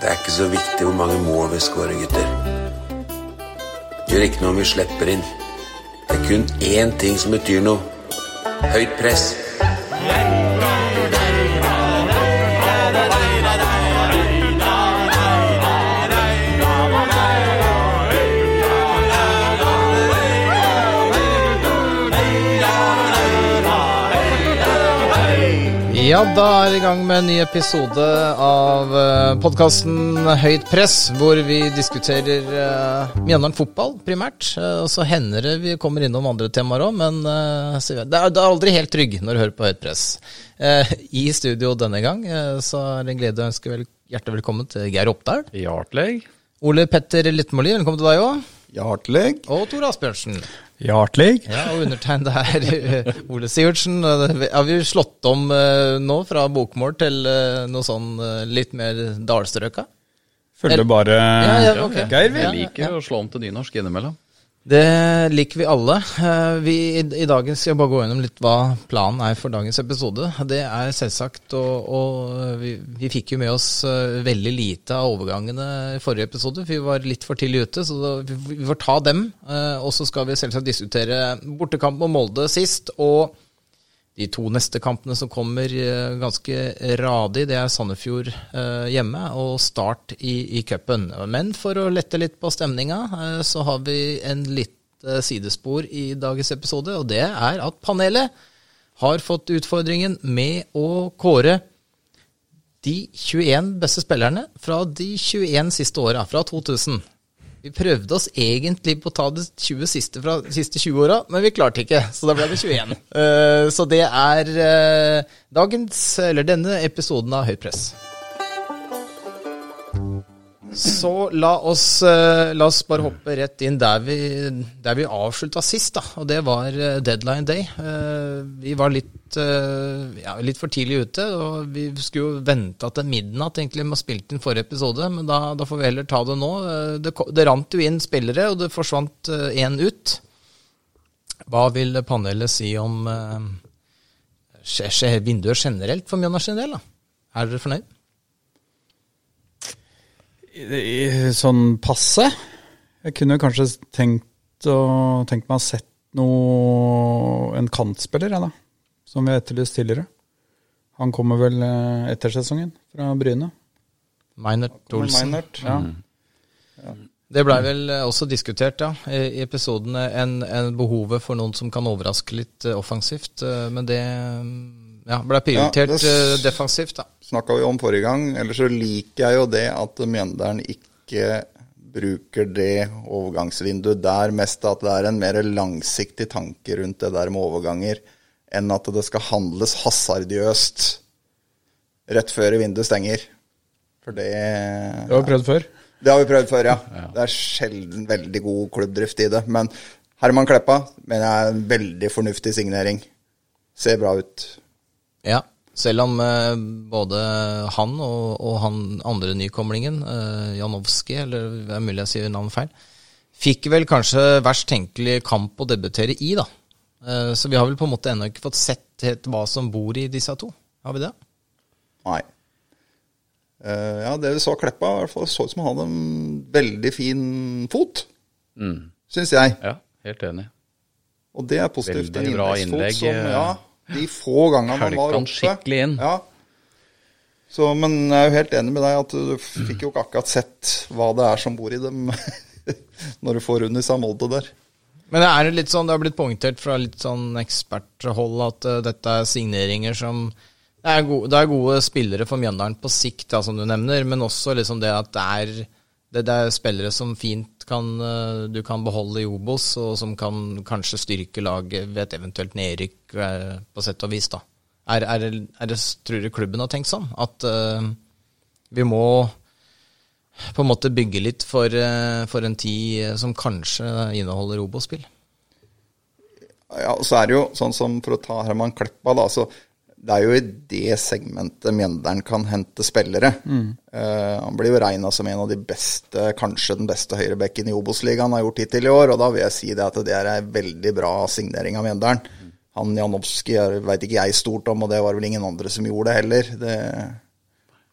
Det er ikke så viktig hvor mange mål vi skårer, gutter. Det gjør ikke noe om vi slipper inn. Det er kun én ting som betyr noe. Høyt press. Ja, da er vi i gang med en ny episode av podkasten Høyt press, hvor vi diskuterer uh, Mjøndalen fotball primært. eh, og så hender det vi kommer innom andre temaer òg, men eh, så- det, er, det er aldri helt trygg når du hører på Høyt press. Eh, I studio denne gang eh, så er det en glede å ønske vel, hjertelig velkommen til Geir Oppdal. Hjartleg. Ole Petter Littmoli, velkommen til deg òg. Hjartleg. Og Tor Asbjørnsen. Hjartleg. Ja, og undertegnede er eh, Ole Sivertsen. og det- Har vi slått om eh, nå fra bokmål til eh, noe sånn eh, litt mer dalstrøka? Følger bare Ja, ja, ok. Geir, vi. Jeg liker å slå om til nynorsk innimellom. Det liker vi alle. Eh, Vi, i, I dagen skal jeg bare gå gjennom litt hva planen er for dagens episode. Det er selvsagt og, og vi, vi fikk jo med oss eh, veldig lite av overgangene i forrige episode. for Vi var litt for tidlig ute, så da, vi, vi får ta dem. Eh, Og så skal vi selvsagt diskutere bortekamp mot Molde sist. og de to neste kampene som kommer eh, ganske radig, det er Sandefjord eh, hjemme og Start i, i cupen. Men for å lette litt på stemninga, eh, så har vi en litt eh, sidespor i dagens episode. Og det er at panelet har fått utfordringen med å kåre de 21 beste spillerne fra de 21 siste åra, fra 2000. Vi prøvde oss egentlig på å ta de 20 siste fra de siste 20 åra, men vi klarte ikke, så da ble det 21. Eh, så det er eh, dagens, eller denne episoden av Høyt press. Så la oss, eh, la oss bare hoppe rett inn der vi, der vi avslutta sist, da. Og det var eh, deadline day. Eh, Vi var litt, eh, ja, litt for tidlig ute, og vi skulle jo venta til midnatt egentlig med å spille inn forrige episode, men da, da får vi heller ta det nå. Eh, Det, ko- det rant jo inn spillere, og det forsvant én ut. Hva vil panelet si om eh, skje- skje- vinduet generelt for Mjøndalen sin del, da? Er dere fornøyd? I- i- Sånn passe. Jeg kunne kanskje tenkt, å, tenkt meg å ha sett noe En kantspiller, jeg, da. Som vi har etterlyst tidligere. Han kommer vel eh, etter sesongen, fra Bryne. Meinert Olsen. Meinert, Ja. Det blei vel eh, også diskutert, ja, i i episodene. En, en behovet for noen som kan overraske litt eh, offensivt. eh, Men det mm, ja, blei Ja, prioritert det s- eh, defensivt, da. snakka vi om forrige gang. Ellers så liker jeg jo det at Mjøndalen ikke bruker det overgangsvinduet der mest. At det er en mer langsiktig tanke rundt det der med overganger, enn at det skal handles hasardiøst rett før vinduet stenger. For det Det har vi prøvd før. det har vi prøvd før, ja. Det er sjelden veldig god klubbdrift i det. Men Herman Kleppa mener jeg er en veldig fornuftig signering. Ser bra ut. Ja, selv om eh, både han og, og han andre nykomlingen, eh, Janowski, eller det er mulig jeg sier navnet feil, fikk vel kanskje verst tenkelig kamp å debutere i, da. Eh, Så vi har vel på en måte ennå ikke fått sett helt hva som bor i disse to. Har vi det? Nei. Eh, ja, det vi så Kleppa, i hvert fall så ut som han hadde en veldig fin fot, Mm. syns jeg. Ja, helt enig. Og det er positivt. Veldig en bra innleggsfot innlegg, Som, eh, ja, de få gangene han Kølka var han oppe. skikkelig inn. Ja. Så, men jeg er jo helt enig med deg at du fikk jo ikke akkurat sett hva det er som bor i dem når du får under Samolde der. Men det er jo litt sånn, det har blitt poengtert fra litt sånn eksperthold at eh, dette er signeringer som det er, gode, det er gode spillere for Mjøndalen på sikt, da, som du nevner, men også liksom det at det er, det, det er spillere som fint kan, eh, du kan beholde i Obos, og som kan kanskje styrke laget ved et eventuelt nedrykk, eh, på sett og vis. da. Er, er, det- er det, Tror du klubben har tenkt sånn? At eh, vi må på en måte bygge litt for, eh, for en tid eh, som kanskje inneholder Obos-spill? Ja, og så er det jo sånn som for å ta Herman Kleppa, da, så det er jo i det segmentet Mjøndalen kan hente spillere. Eh, han blir jo regna som en av de beste, kanskje den beste høyrebekken i Obos-ligaen har gjort hittil i år, og da vil jeg si det at det er ei veldig bra signering av Mjøndalen. Han Janowski veit ikke jeg stort om, og det var vel ingen andre som gjorde det heller. Det,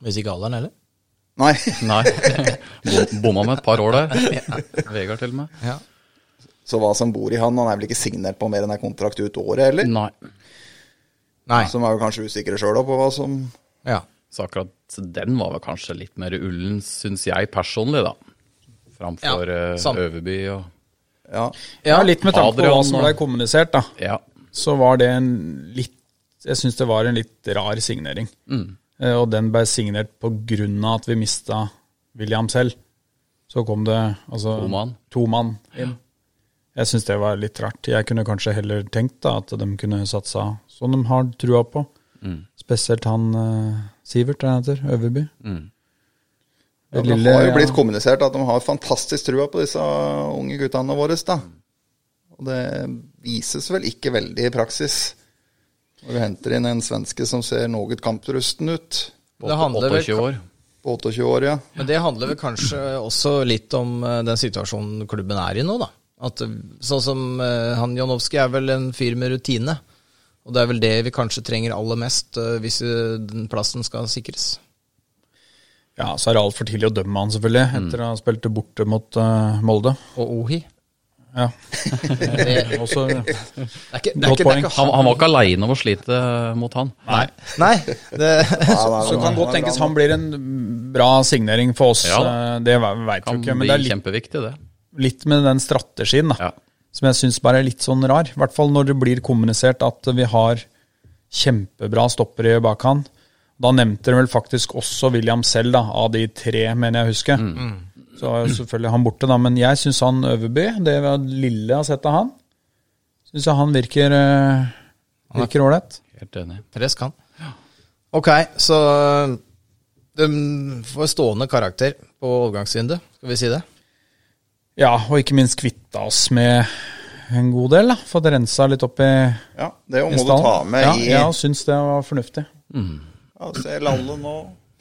Hvis ikke alderen heller? Nei. Nei. Bom- Bomma med et par år der. Vegard til og med. Ja. Så hva som bor i han, han er vel ikke signert på mer enn en kontrakt ut året, eller? Nei. Nei. Som er jo kanskje usikre sjøl på hva som Ja. Så akkurat den var vel kanskje litt mer ullen, syns jeg personlig, da. Framfor Ja, eh, sant. Øverby og Ja. Ja, litt med tanke på hva Adrian som og- eh, ble kommunisert, da. Ja. så var det en litt Jeg syns det var en litt rar signering. Mm. Eh, Og den ble signert på grunn av at vi mista William selv. Så kom det altså, To mann. to mann inn. Jeg syns det var litt rart. Jeg kunne kanskje heller tenkt da, at de kunne satsa som de har trua på. Mm. Spesielt han eh, Sivert, han heter. Øverby. Mm. Det Det har jo lille- blitt kommunisert at de har fantastisk trua på disse unge guttene våre, da. Og det vises vel ikke veldig i praksis. Når du henter inn en svenske som ser noe kamprusten ut, På Det handler vel- 28 år. på 28 år, ja. Men det handler vel kanskje også litt om eh, den situasjonen klubben er i nå, da. At, eh, sånn som eh, han Janowski er vel en fyr med rutine. Og det er vel det vi kanskje trenger aller mest eh, hvis eh, den plassen skal sikres. Ja, så er det altfor tidlig å dømme han, selvfølgelig, Mm. etter å ha spilt borte mot eh, Molde. Og Ohi. Ja. Det er Også, ikke, det er ikke, Godt det er poeng. ikke Han, han var ikke aleine om å slite eh, mot han. nei. Nei, det, Så kan godt tenkes han blir en bra signering for oss. Ja. eh, Det veit jo Kan ikke. Men bli det er litt, kjempeviktig, det. litt med den strategien da, Ja. som jeg syns bare er litt sånn rar. I hvert fall når det blir kommunisert at vi har kjempebra stoppere i bakhånd. Da nevnte de vel faktisk også William selv, da, av de tre, mener jeg å huske. Mm. Så var jo selvfølgelig han borte, da. Men jeg syns han Øverby, det vi har- lille har sett av han, syns jeg han virker eh, virker ålreit. Helt enig. Press kan. Ok, så de får stående karakter på overgangsvinduet, skal vi si det? Ja, og ikke minst kvitta oss med en god del. da, Fått rensa litt opp i, Ja, Det i må du stallen. ta med ja, i Ja, syns det var fornuftig. Ja, se, Lalle nå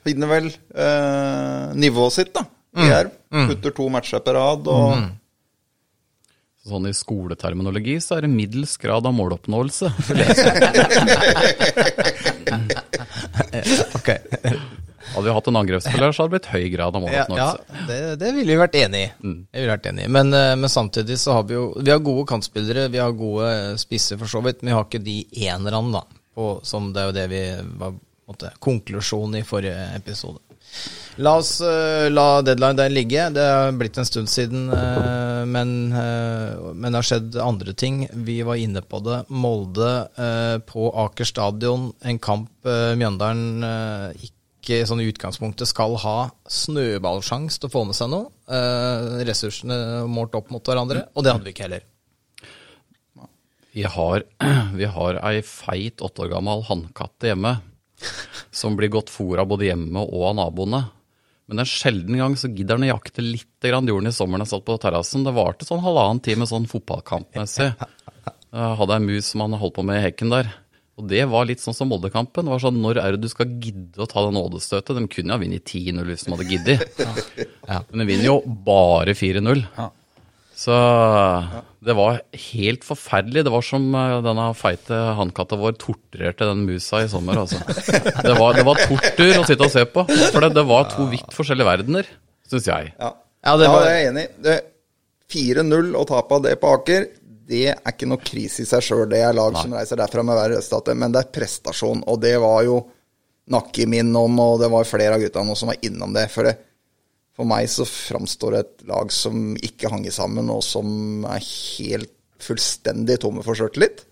finner vel eh, nivået sitt, da. Mm. I Jerv. Putter to matcher på rad. Og Sånn i skoleterminologi så er det middels grad av måloppnåelse. Ok. Hadde vi hatt en angrepsspiller, så hadde det blitt høy grad av Ja, ja måloppnåelse. det, det ville vi vært enig i. Det ville vi vært enig i. Men, eh, men samtidig så har vi jo Vi har gode kantspillere, vi har gode eh, spisser for så vidt, men vi har ikke de enerne, da. På, som det er jo det vi var på en måte, konklusjonen i forrige episode. La oss eh, la deadline der ligge. Det er blitt en stund siden, eh, men, eh, men det har skjedd andre ting. Vi var inne på det. Molde eh, på Aker stadion, en kamp eh, Mjøndalen eh, ikke sånn i utgangspunktet skal ha snøballsjans til å få med seg noe. Eh, Ressursene målt opp mot hverandre, og det hadde vi ikke heller. Vi har, vi har ei feit åtte år gammel hannkatt hjemme som blir godt fôra både hjemme og av naboene. Men en sjelden gang så gidder han å jakte litt grann jorden i sommeren jeg satt på terrassen. Det varte sånn halvannen time sånn fotballkampmessig. Jeg hadde ei mus som han holdt på med i hekken der. Og det var litt sånn som Molde-kampen. Det var sånn, Når er det du skal gidde å ta det nådestøtet? De kunne jo ha vunnet 10-0 hvis de hadde giddet. Men de vinner jo bare 4-0. Så det var helt forferdelig. Det var som eh, denne feite hannkatta vår torturerte den musa i sommer, altså. Det var, det var tortur å sitte og se på. For det, det var to vidt forskjellige verdener, syns jeg. ja. Ja, det var- er jeg enig i. Det- 4-0 og tap av det på Aker, det er ikke noe krise i seg sjøl. Det er lag som reiser derfra med hver restate, men det er prestasjon. Og det var jo Nakki min om, og det var flere av gutta nå som var innom det. For det, for meg så framstår et lag som ikke hang sammen, og som er helt fullstendig tomme for sjøltillit.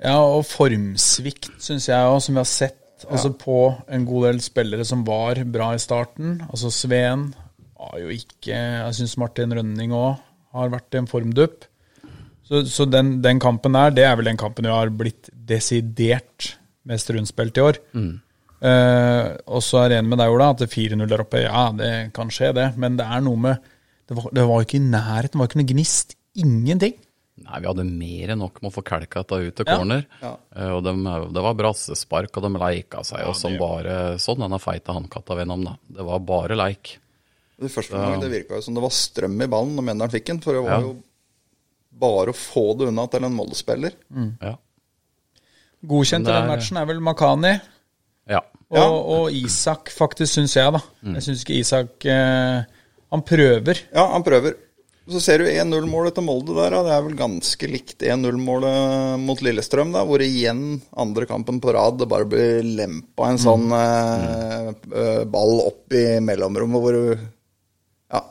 Ja, og formsvikt syns jeg òg, som vi har sett. Altså på en god del spillere som var bra i starten. Altså Sveen var jo ikke Jeg syns Martin Rønning òg har vært i en formdupp. Så, så den, den kampen der, det er vel den kampen jeg har blitt desidert mest rundspilt i år. Eh, og så er jeg enig med deg, Ola, at det 4-0 der oppe, ja, det kan skje, det. Men det er noe med Det var, det var ikke i nærheten, det var ikke noe gnist. Ingenting. Nei, vi hadde mer enn nok med å få kalka dette ut til corner. Eh, Og dem, det var brassespark, og de leika seg, og som bare sånn denne feite hannkatta venom, da. Det var bare leik. Det første gangen det virka jo som det var strøm i ballen når Mjøndalen fikk den, for det var Ja. jo bare å få det unna til en Molde-spiller. Ja. Godkjent i Men det den er- matchen er vel Makani. Ja. Mm. Og, og Isak, faktisk, syns jeg, da. Jeg syns ikke Isak eh, Han prøver. Ja, han prøver. Så ser du 1-0-målet til Molde der. Ja. Det er vel ganske likt 1-0-målet mot Lillestrøm, da, hvor igjen andre kampen på rad det bare blir lempa en sånn eh, Mm. eh, ball opp i mellomrommet hvor du Ja.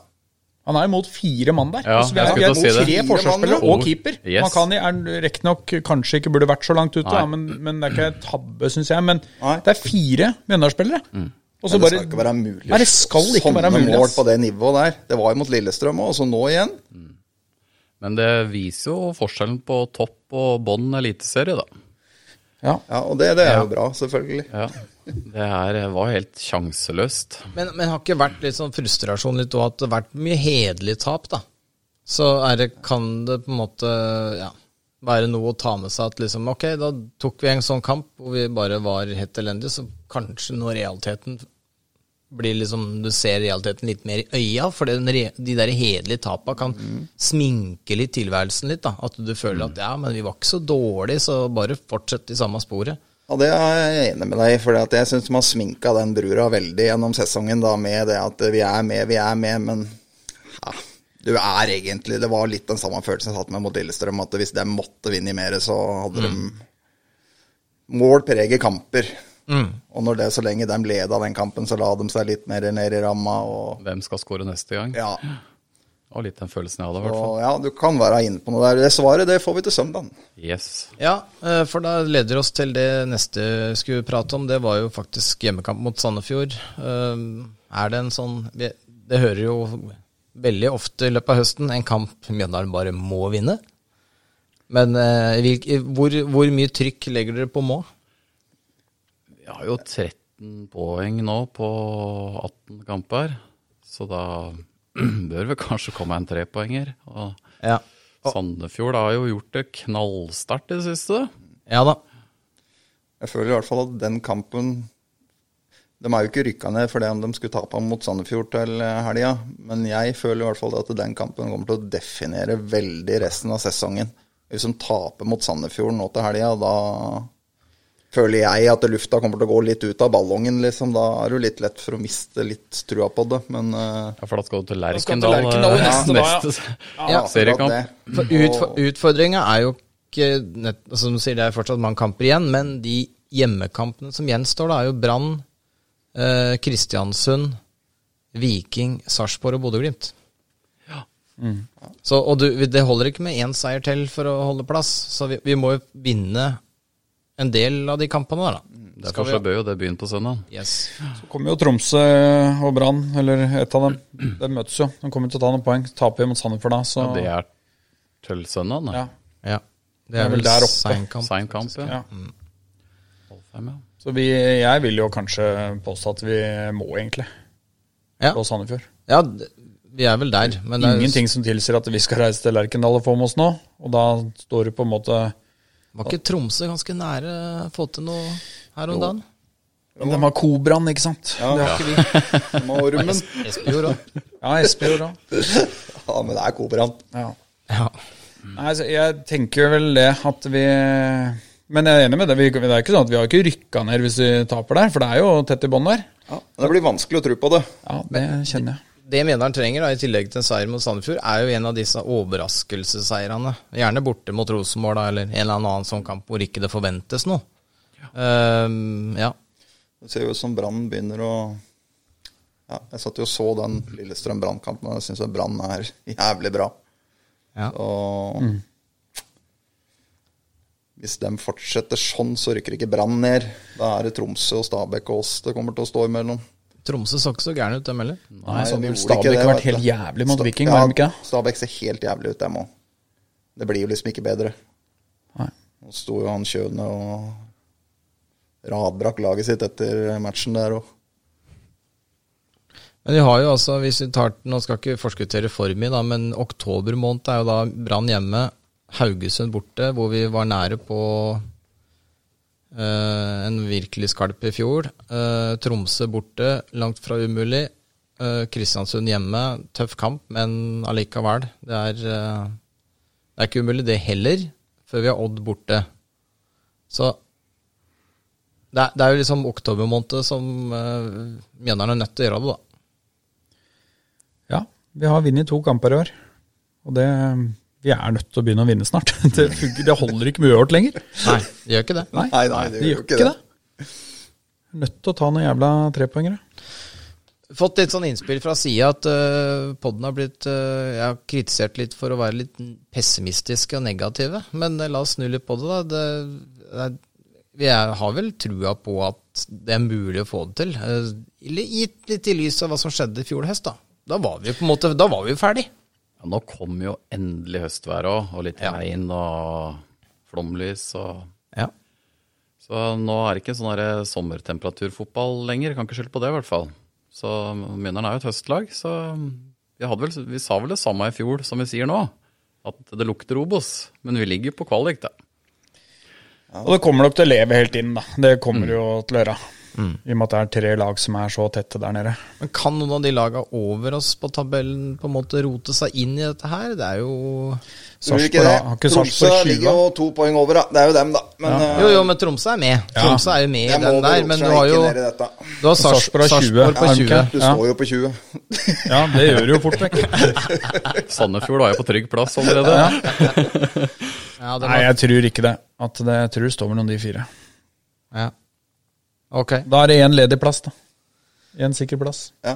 Han er imot fire mann der. Ja, Altså, vi er, jeg vi skulle til å er mot si tre det. forsvarsspillere Fire mann, og ja. keeper. Yes. Makani er riktignok kanskje ikke burde vært så langt ute, da, Nei. men, men det er ikke en tabbe, syns jeg. Men Nei. det er fire Mjøndalen-spillere. Mm. Og så Men det bare skal ikke være mulig. Nei, det skal ikke Sånne være mulig. mål ass. på det nivået der. Det var jo mot Lillestrøm òg, og så nå igjen. Men det viser jo forskjellen på topp og bånn eliteserie, da. Ja. Ja, Og det, det er jo bra, selvfølgelig. Ja. Det her var helt sjanseløst. Men, men har ikke vært litt sånn frustrasjon litt òg, at det har vært mye hederlig tap, da. Så er det, kan det på en måte ja, være noe å ta med seg at liksom ok, da tok vi en sånn kamp hvor vi bare var helt elendige, så kanskje når realiteten blir liksom, Du ser realiteten litt mer i øya, for den re, de der hederlige tapa kan sminke litt tilværelsen litt. da, At du føler at ja, men vi var ikke så dårlige, så bare fortsett i samme sporet. Ja, Det er jeg enig med deg i. For jeg syns de har sminka den brura veldig gjennom sesongen da, med det at vi er med, vi er med, men ja, du er egentlig Det var litt den samme følelsen jeg satt med mot Lillestrøm, at hvis de måtte vinne i mer, så hadde Mm. de Mål preger kamper. Mm. Og når det, så lenge de leda den kampen, så la de seg litt mer ned i ramma. og Hvem skal score neste gang? ja, Og litt den følelsen jeg hadde, i hvert fall. og ja, du kan være inne på noe der. Det svaret det får vi til søndag. Yes. Ja, eh, for da leder oss til det neste vi skulle prate om. Det var jo faktisk hjemmekamp mot Sandefjord. Eh, Er det en sånn vi- Det hører jo veldig ofte i løpet av høsten en kamp Mjøndalen bare må vinne. Men eh, hvilk, hvor, hvor mye trykk legger dere på må? Vi har jo 13 poeng nå på 18 kamper, så da bør vi kanskje komme en trepoenger. Og Ja. Sandefjord har jo gjort det knallsterkt i det siste. ja da. Jeg føler i hvert fall at den kampen De er jo ikke rykka ned fordi om de skulle tape mot Sandefjord til eh, helga, men jeg føler i hvert fall at den kampen kommer til å definere veldig resten av sesongen. Hvis de taper mot Sandefjord nå til helga, da føler jeg at lufta kommer til å gå litt ut av ballongen, liksom. Da er det jo litt lett for å miste litt trua på det, men eh, Ja, for da skal du til skal du Lerkendal til Lerkendal eh, neste dag, ja. ja, akkurat seriekamp. det. For utf utfordringa er jo ikke nett, Som du sier, det er fortsatt mange kamper igjen, men de hjemmekampene som gjenstår, da, er jo Brann, eh, Kristiansund, Viking, Sarpsborg og Bodø-Glimt. Mm. Så, og du, det holder ikke med én seier til for å holde plass, så vi, vi må jo vinne en del av de kampene der, Mm. da. Derfor så bør jo det begynne på søndag. Yes. Så kommer jo Tromsø og Brann, eller et av dem. De møtes jo. De kommer til å ta noen poeng. Taper jo mot Sandefjord da, så Ja, det er til søndag, da. ja. Ja. Det er er vel vel der oppe. sein kamp. Sein kamp, ja. Ja. Halv fem, ja. Så vi, jeg vil jo kanskje påstå at vi må egentlig Ja. på Sandefjord. ja, d- vi er vel der, men det er Ingenting som tilsier at vi skal reise til Lerkendal og få med oss nå. Og da står det på en måte Var ikke Tromsø ganske nære å få til noe her om dagen? Men de har Kobraen, ikke sant? Ja, Det har ikke vi. Må ormen. Espejord òg. Ja, Espejord òg. Ja, men det er Kobran. Ja. Ja. Nei, altså, jeg tenker vel det at vi Men jeg er enig med det. Vi, det er ikke sånn at vi har ikke rykka ned hvis vi taper der, for det er jo tett i bånn der. Ja, men det blir vanskelig å tro på det. Ja, det kjenner jeg. Det Mjøndalen trenger, da, i tillegg til en seier mot Sandefjord, er jo en av disse overraskelsesseirene. Gjerne borte mot Rosenborg, da, eller en eller annen sånn kamp hvor ikke det forventes noe. Ehm, ja. Det ser jo ut som Brann begynner å ja, Jeg satt jo og så den Lillestrøm-Brann-kampen, og jeg syns Brann er jævlig bra. Ja. Og Mm. hvis de fortsetter sånn, så rykker ikke Brann ned. Da er det Tromsø og Stabæk og oss det kommer til å stå imellom. Tromsø så ikke så gæren ut, dem heller. Nei, så de ville gjorde ikke Stabæk det, vært vet helt du. jævlig mot Sta- Viking, ja, var de ikke? Stabæk ser helt jævlig ut, dem òg. Det blir jo liksom ikke bedre. Nei. Nå sto jo han Kjøne og radbrakk laget sitt etter matchen der òg. Men vi har jo altså, hvis vi tar, nå skal ikke forskuttere for mye, da, men oktober måned er jo da Brann hjemme, Haugesund borte, hvor vi var nære på eh, en virkelig skalp i fjor. Eh, Tromsø borte, langt fra umulig. Eh, Kristiansund hjemme, tøff kamp, men allikevel. Det er, eh, det er ikke umulig, det heller, før vi har Odd borte. Så Det er, det er jo liksom oktober måned som uh, Mjøndalen er nødt til å gjøre det, da. Ja, vi har vunnet to kamper i år. Og det, vi er nødt til å begynne å vinne snart. Det, funker, det holder ikke med uavgjort lenger. Nei, det gjør ikke det. Nei, Nei, nei, det vi gjør jo ikke det. Nødt til å ta noen jævla trepoengere. Fått litt sånn innspill fra sida at uh, podden har blitt øh, Jeg har kritisert litt for å være litt pessimistiske og negative. Men øh, la oss snu litt på det, da. Det, det er, vi er, har vel trua på at det er mulig å få det til. Eh, eller gitt litt i lys av hva som skjedde i fjor høst, da. Da var vi på en måte Da var vi jo ferdig. Ja, nå kom jo endelig høstværet òg, og litt regn og flomlys og Ja. Så nå er det ikke sånn der sommertemperaturfotball lenger. Kan ikke skylde på det, i hvert fall. Så Mjøndalen er jo et høstlag, så vi, hadde vel, vi sa vel det samme i fjor som vi sier nå. At det lukter Obos. Men vi ligger på kvalik, da. Og det kommer nok til å leve helt inn, da. Det kommer jo til å gjøre. I og med at det er tre lag som er så tette der nede. Men kan noen av de laga over oss på tabellen på en måte rote seg inn i dette her? Det er jo Tror du Sarpsborg ikke det? har- har ikke Tromsø Sarpsborg ligger jo 20? to poeng over, da. Det er jo dem, da. Men eh, Jo, jo, men Tromsø er med. Tromsø er jo med i jeg må den der, rope men seg du har ikke jo ned i dette. Du har Sars- Sarpsborg har 20. Sarpsborg på Ja, 20. ok. Du Ja. står jo på 20. Ja, det gjør det jo fort vekk. Sandefjord var jo på trygg plass allerede. Ja, det Nei, var, jeg tror ikke det. At det jeg tror det står mellom de fire. ja. Ok. Da er det én ledig plass, da. Én sikker plass. Ja.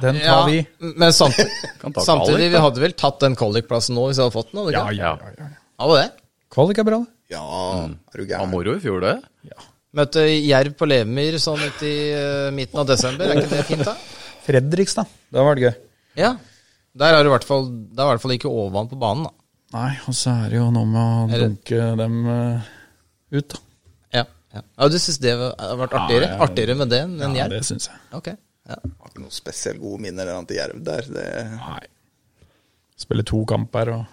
Den tar Ja, vi. men samtidig, Kan ta samtidig kvalik, vi da. hadde vel tatt den qualic-plassen nå hvis vi hadde fått den? hadde vi Ja, ikke? ja, ja. ja. Hadde det? Kvalik er bra, det. ja, Mm. er du Det var gæren. moro i fjor, det. Møtte Jerv på Levemyr sånn ut i eh, midten av desember, er ikke det fint, da? Fredrikstad. Det hadde vært gøy. Ja. Der er det i hvert fall, det er i hvert fall ikke overvann på banen, da. Nei, og så er det jo noe med å Er det- dunke dem eh, ut, da. Ja. ja. ja du syns det har vært artigere? Ja, ja. Artigere med det enn enn Ja, Jerv? det syns jeg. Ok. Ja. Har ikke noe spesielt gode minner enn til Jerv der. Det, Nei. Spille to kamper og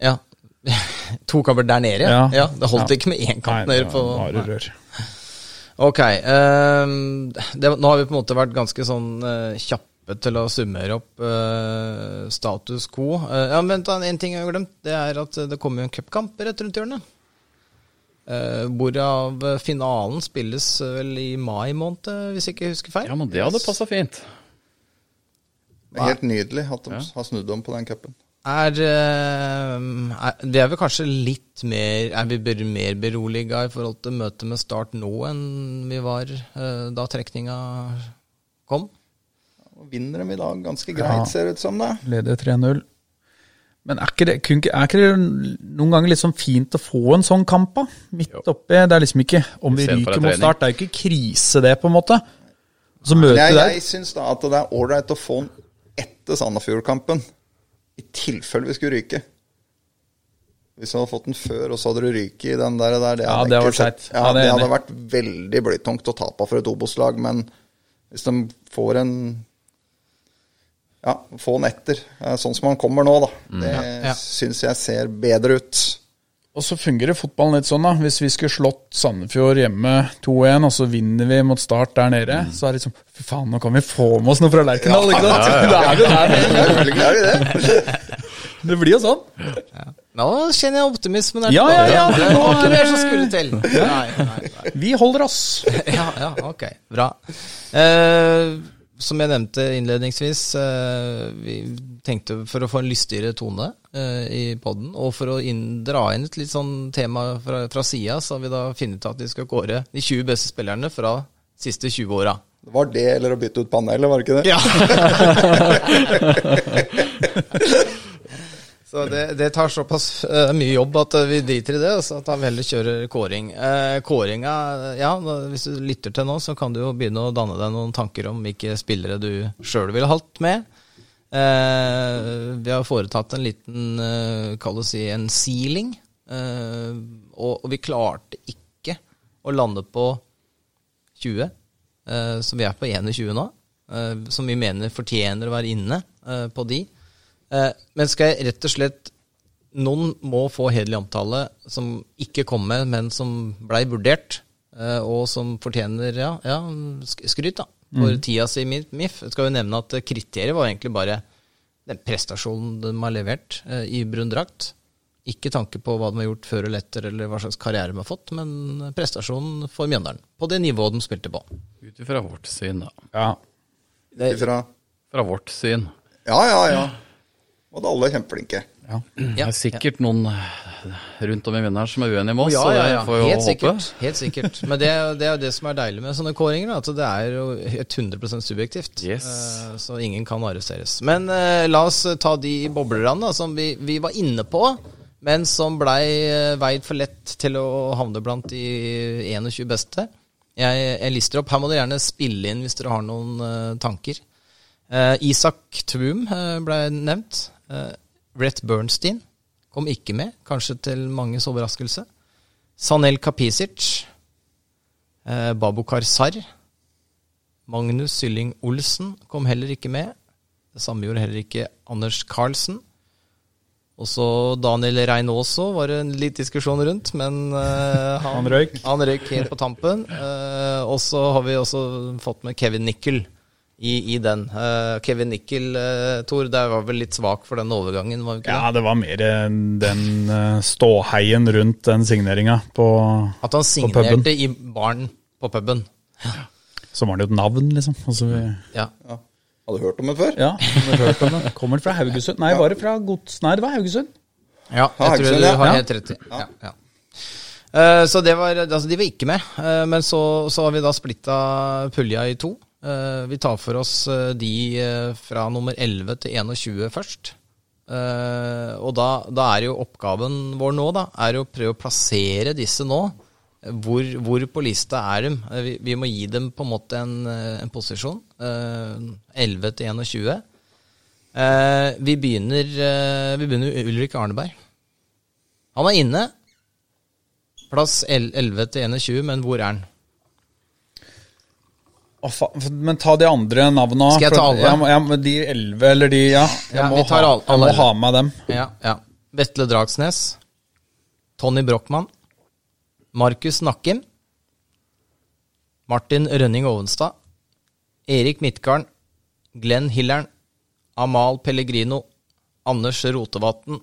ja. To kamper der nede, ja. Ja. ja det holdt Ja. ikke med én kamp Nei, nede det på var Bare rør. Ok. ehm, det, nå har vi på en måte vært ganske sånn eh, kjappe til å summere opp eh, status quo. Eh, ja, men da, En ting jeg har glemt, det er at det kommer jo en cupkamp rett rundt hjørnet. Eh, hvorav eh, finalen spilles eh, vel i mai måned, eh, hvis jeg ikke husker feil. Ja, men det hadde passa fint. det er helt nydelig at de har snudd om på den cupen. Er, eh, er Vi er vel kanskje litt mer Er vi ber, mer beroliga i forhold til møtet med Start nå enn vi var eh, da trekninga kom? Vinner dem i dag ganske greit, Ja. ser det ut som. det. Leder 3-0. Men er ikke, det, kun, ikke- er ikke det noen ganger litt sånn fint å få en sånn kamp, da? Midt oppi. Det er liksom ikke Om vi Istedenfor ryker en mot trening. start, det er jo ikke krise, det, på en måte. Så møter Jeg, du der jeg syns da at det er ålreit å få den etter Sandefjord-kampen. I tilfelle vi skulle ryke. Hvis vi hadde fått den før, og så hadde du ryket i den der, der det Ja, hadde det jeg var ikke sett. teit. Ja, Ja, det det, er jeg hadde vært veldig blytungt å tape for et Obos-lag, men hvis de får en Ja, få den etter, eh, sånn som han kommer nå, da. Mm. Det ja. syns jeg ser bedre ut. Og så fungerer fotballen litt sånn, da. Hvis vi skulle slått Sandefjord hjemme 2-1, og så vinner vi mot Start der nede, så er det liksom Fy faen, nå kan vi få med oss noe fra Lerkendal, ikke sant? Da er vi der. Selvfølgelig er vi det. Det blir jo sånn. Nå kjenner jeg optimismen. her. Ja, ja, ja, Det nå var ikke er det det- som skulle til. Nei, nei, nei. Vi holder oss. Ja, ja, ok. Bra. Eh, som jeg nevnte innledningsvis, eh, vi tenkte for å få en lystigere tone eh, i poden, og for å inn, dra inn et litt sånn tema fra, fra sida, så har vi da funnet ut at vi skal kåre de 20 beste spillerne fra siste 20 åra. Det var det eller å bytte ut panelet, var det ikke det? Ja. Så det, det tar såpass eh, mye jobb at eh, vi driter i det, så at han heller kjører kåring. Eh, kåringa, eh, ja, da- hvis du lytter til nå, så kan du jo begynne å danne deg noen tanker om hvilke spillere du sjøl ville hatt med. Eh, vi har foretatt en liten, eh, kall det si, en sealing, eh, og, og vi klarte ikke å lande på 20, eh, så vi er på 21 nå, eh, som vi mener fortjener å være inne eh, på de. Eh, men skal jeg rett og slett Noen må få hederlig omtale som ikke kom med, men som blei vurdert, eh, og som fortjener ja, ja, sk- skryt da, for tida si i MIF- MIF. Jeg skal jo nevne at eh, kriteriet var egentlig bare den prestasjonen de har levert eh, i brun drakt. Ikke tanke på hva de har gjort før eller etter, eller hva slags karriere de har fått, men prestasjonen for Mjøndalen. På det nivået de spilte på. Ut ifra vårt syn, da. Ja. Ifra, Fra vårt syn. ja, ja, ja. Og det er alle kjempeflinke. Det Ja. er sikkert noen eh, rundt om i Mjøndalen som er uenige med oss. Ja, og ja, det ja. får vi Helt håpe. sikkert. Helt sikkert. Men det, er- det er jo det som er deilig med sånne kåringer, da, at det er jo 100 subjektivt. Yes. Eh, Så ingen kan arresteres. Men eh, la oss ta de boblerne da, som vi, vi var inne på, men som blei eh, veid for lett til å havne blant de 21 beste. Jeg, jeg lister opp. Her må dere gjerne spille inn hvis dere har noen eh, tanker. Eh, Isak Tvum eh, ble nevnt. Eh, Brett Bernstein kom ikke med, kanskje til manges overraskelse. Sanel Kapisic. Eh, Babokar Sarr. Magnus Sylling Olsen kom heller ikke med. Det samme gjorde heller ikke Anders Carlsen. Også Daniel Rein også var det en litt diskusjon rundt, men eh, Han røyk. han røyk helt på tampen. Eh, og så har vi også fått med Kevin Nickel i, i den. Eh, Kevin Nickel, eh, Tor, der var vel litt svak for den overgangen, var det ikke Ja, det var mer eh, den eh, ståheien rundt den signeringa på det? At han puben. signerte i baren på puben. Så var det jo et navn, liksom. Altså, vi, Ja. Ja. Hadde du hørt om det før? ja, har hørt om det. Kommer fra Haugesund. Nei, var det fra Gods... Nei, det var Haugesund. Ja, Ja, jeg tror Haugesund, du ja. har Ja. helt rett i. Ja, ja. Eh, Så det var, altså de var ikke med, Eh, men så, så har vi da splitta pulja i to. Eh, Vi tar for oss eh, de eh, fra nummer 11 til 21 først. Eh, Og da, da er jo oppgaven vår nå, da, er jo å prøve å plassere disse nå. Eh, Hvor, hvor på lista er de? Eh, Vi, vi må gi dem på en måte en, eh, en posisjon. eh, 11 til 21. Eh, vi, begynner, eh, vi begynner med Ulrik Arneberg. Han er inne. Plass el- 11 til 21, men hvor er han? Å, faen, men ta de andre navna. Skal jeg ta for alle? Jeg må, jeg, må- de elleve, eller de Ja, jeg, Ja, må, vi tar ha, al- jeg alle må elleve. ha med dem. Ja, ja. Vetle Dragsnes. Tony Brochmann. Markus Nakkim. Martin Rønning Ovenstad. Erik Midtgarden. Glenn Hillern. Amal Pellegrino. Anders Rotevatn.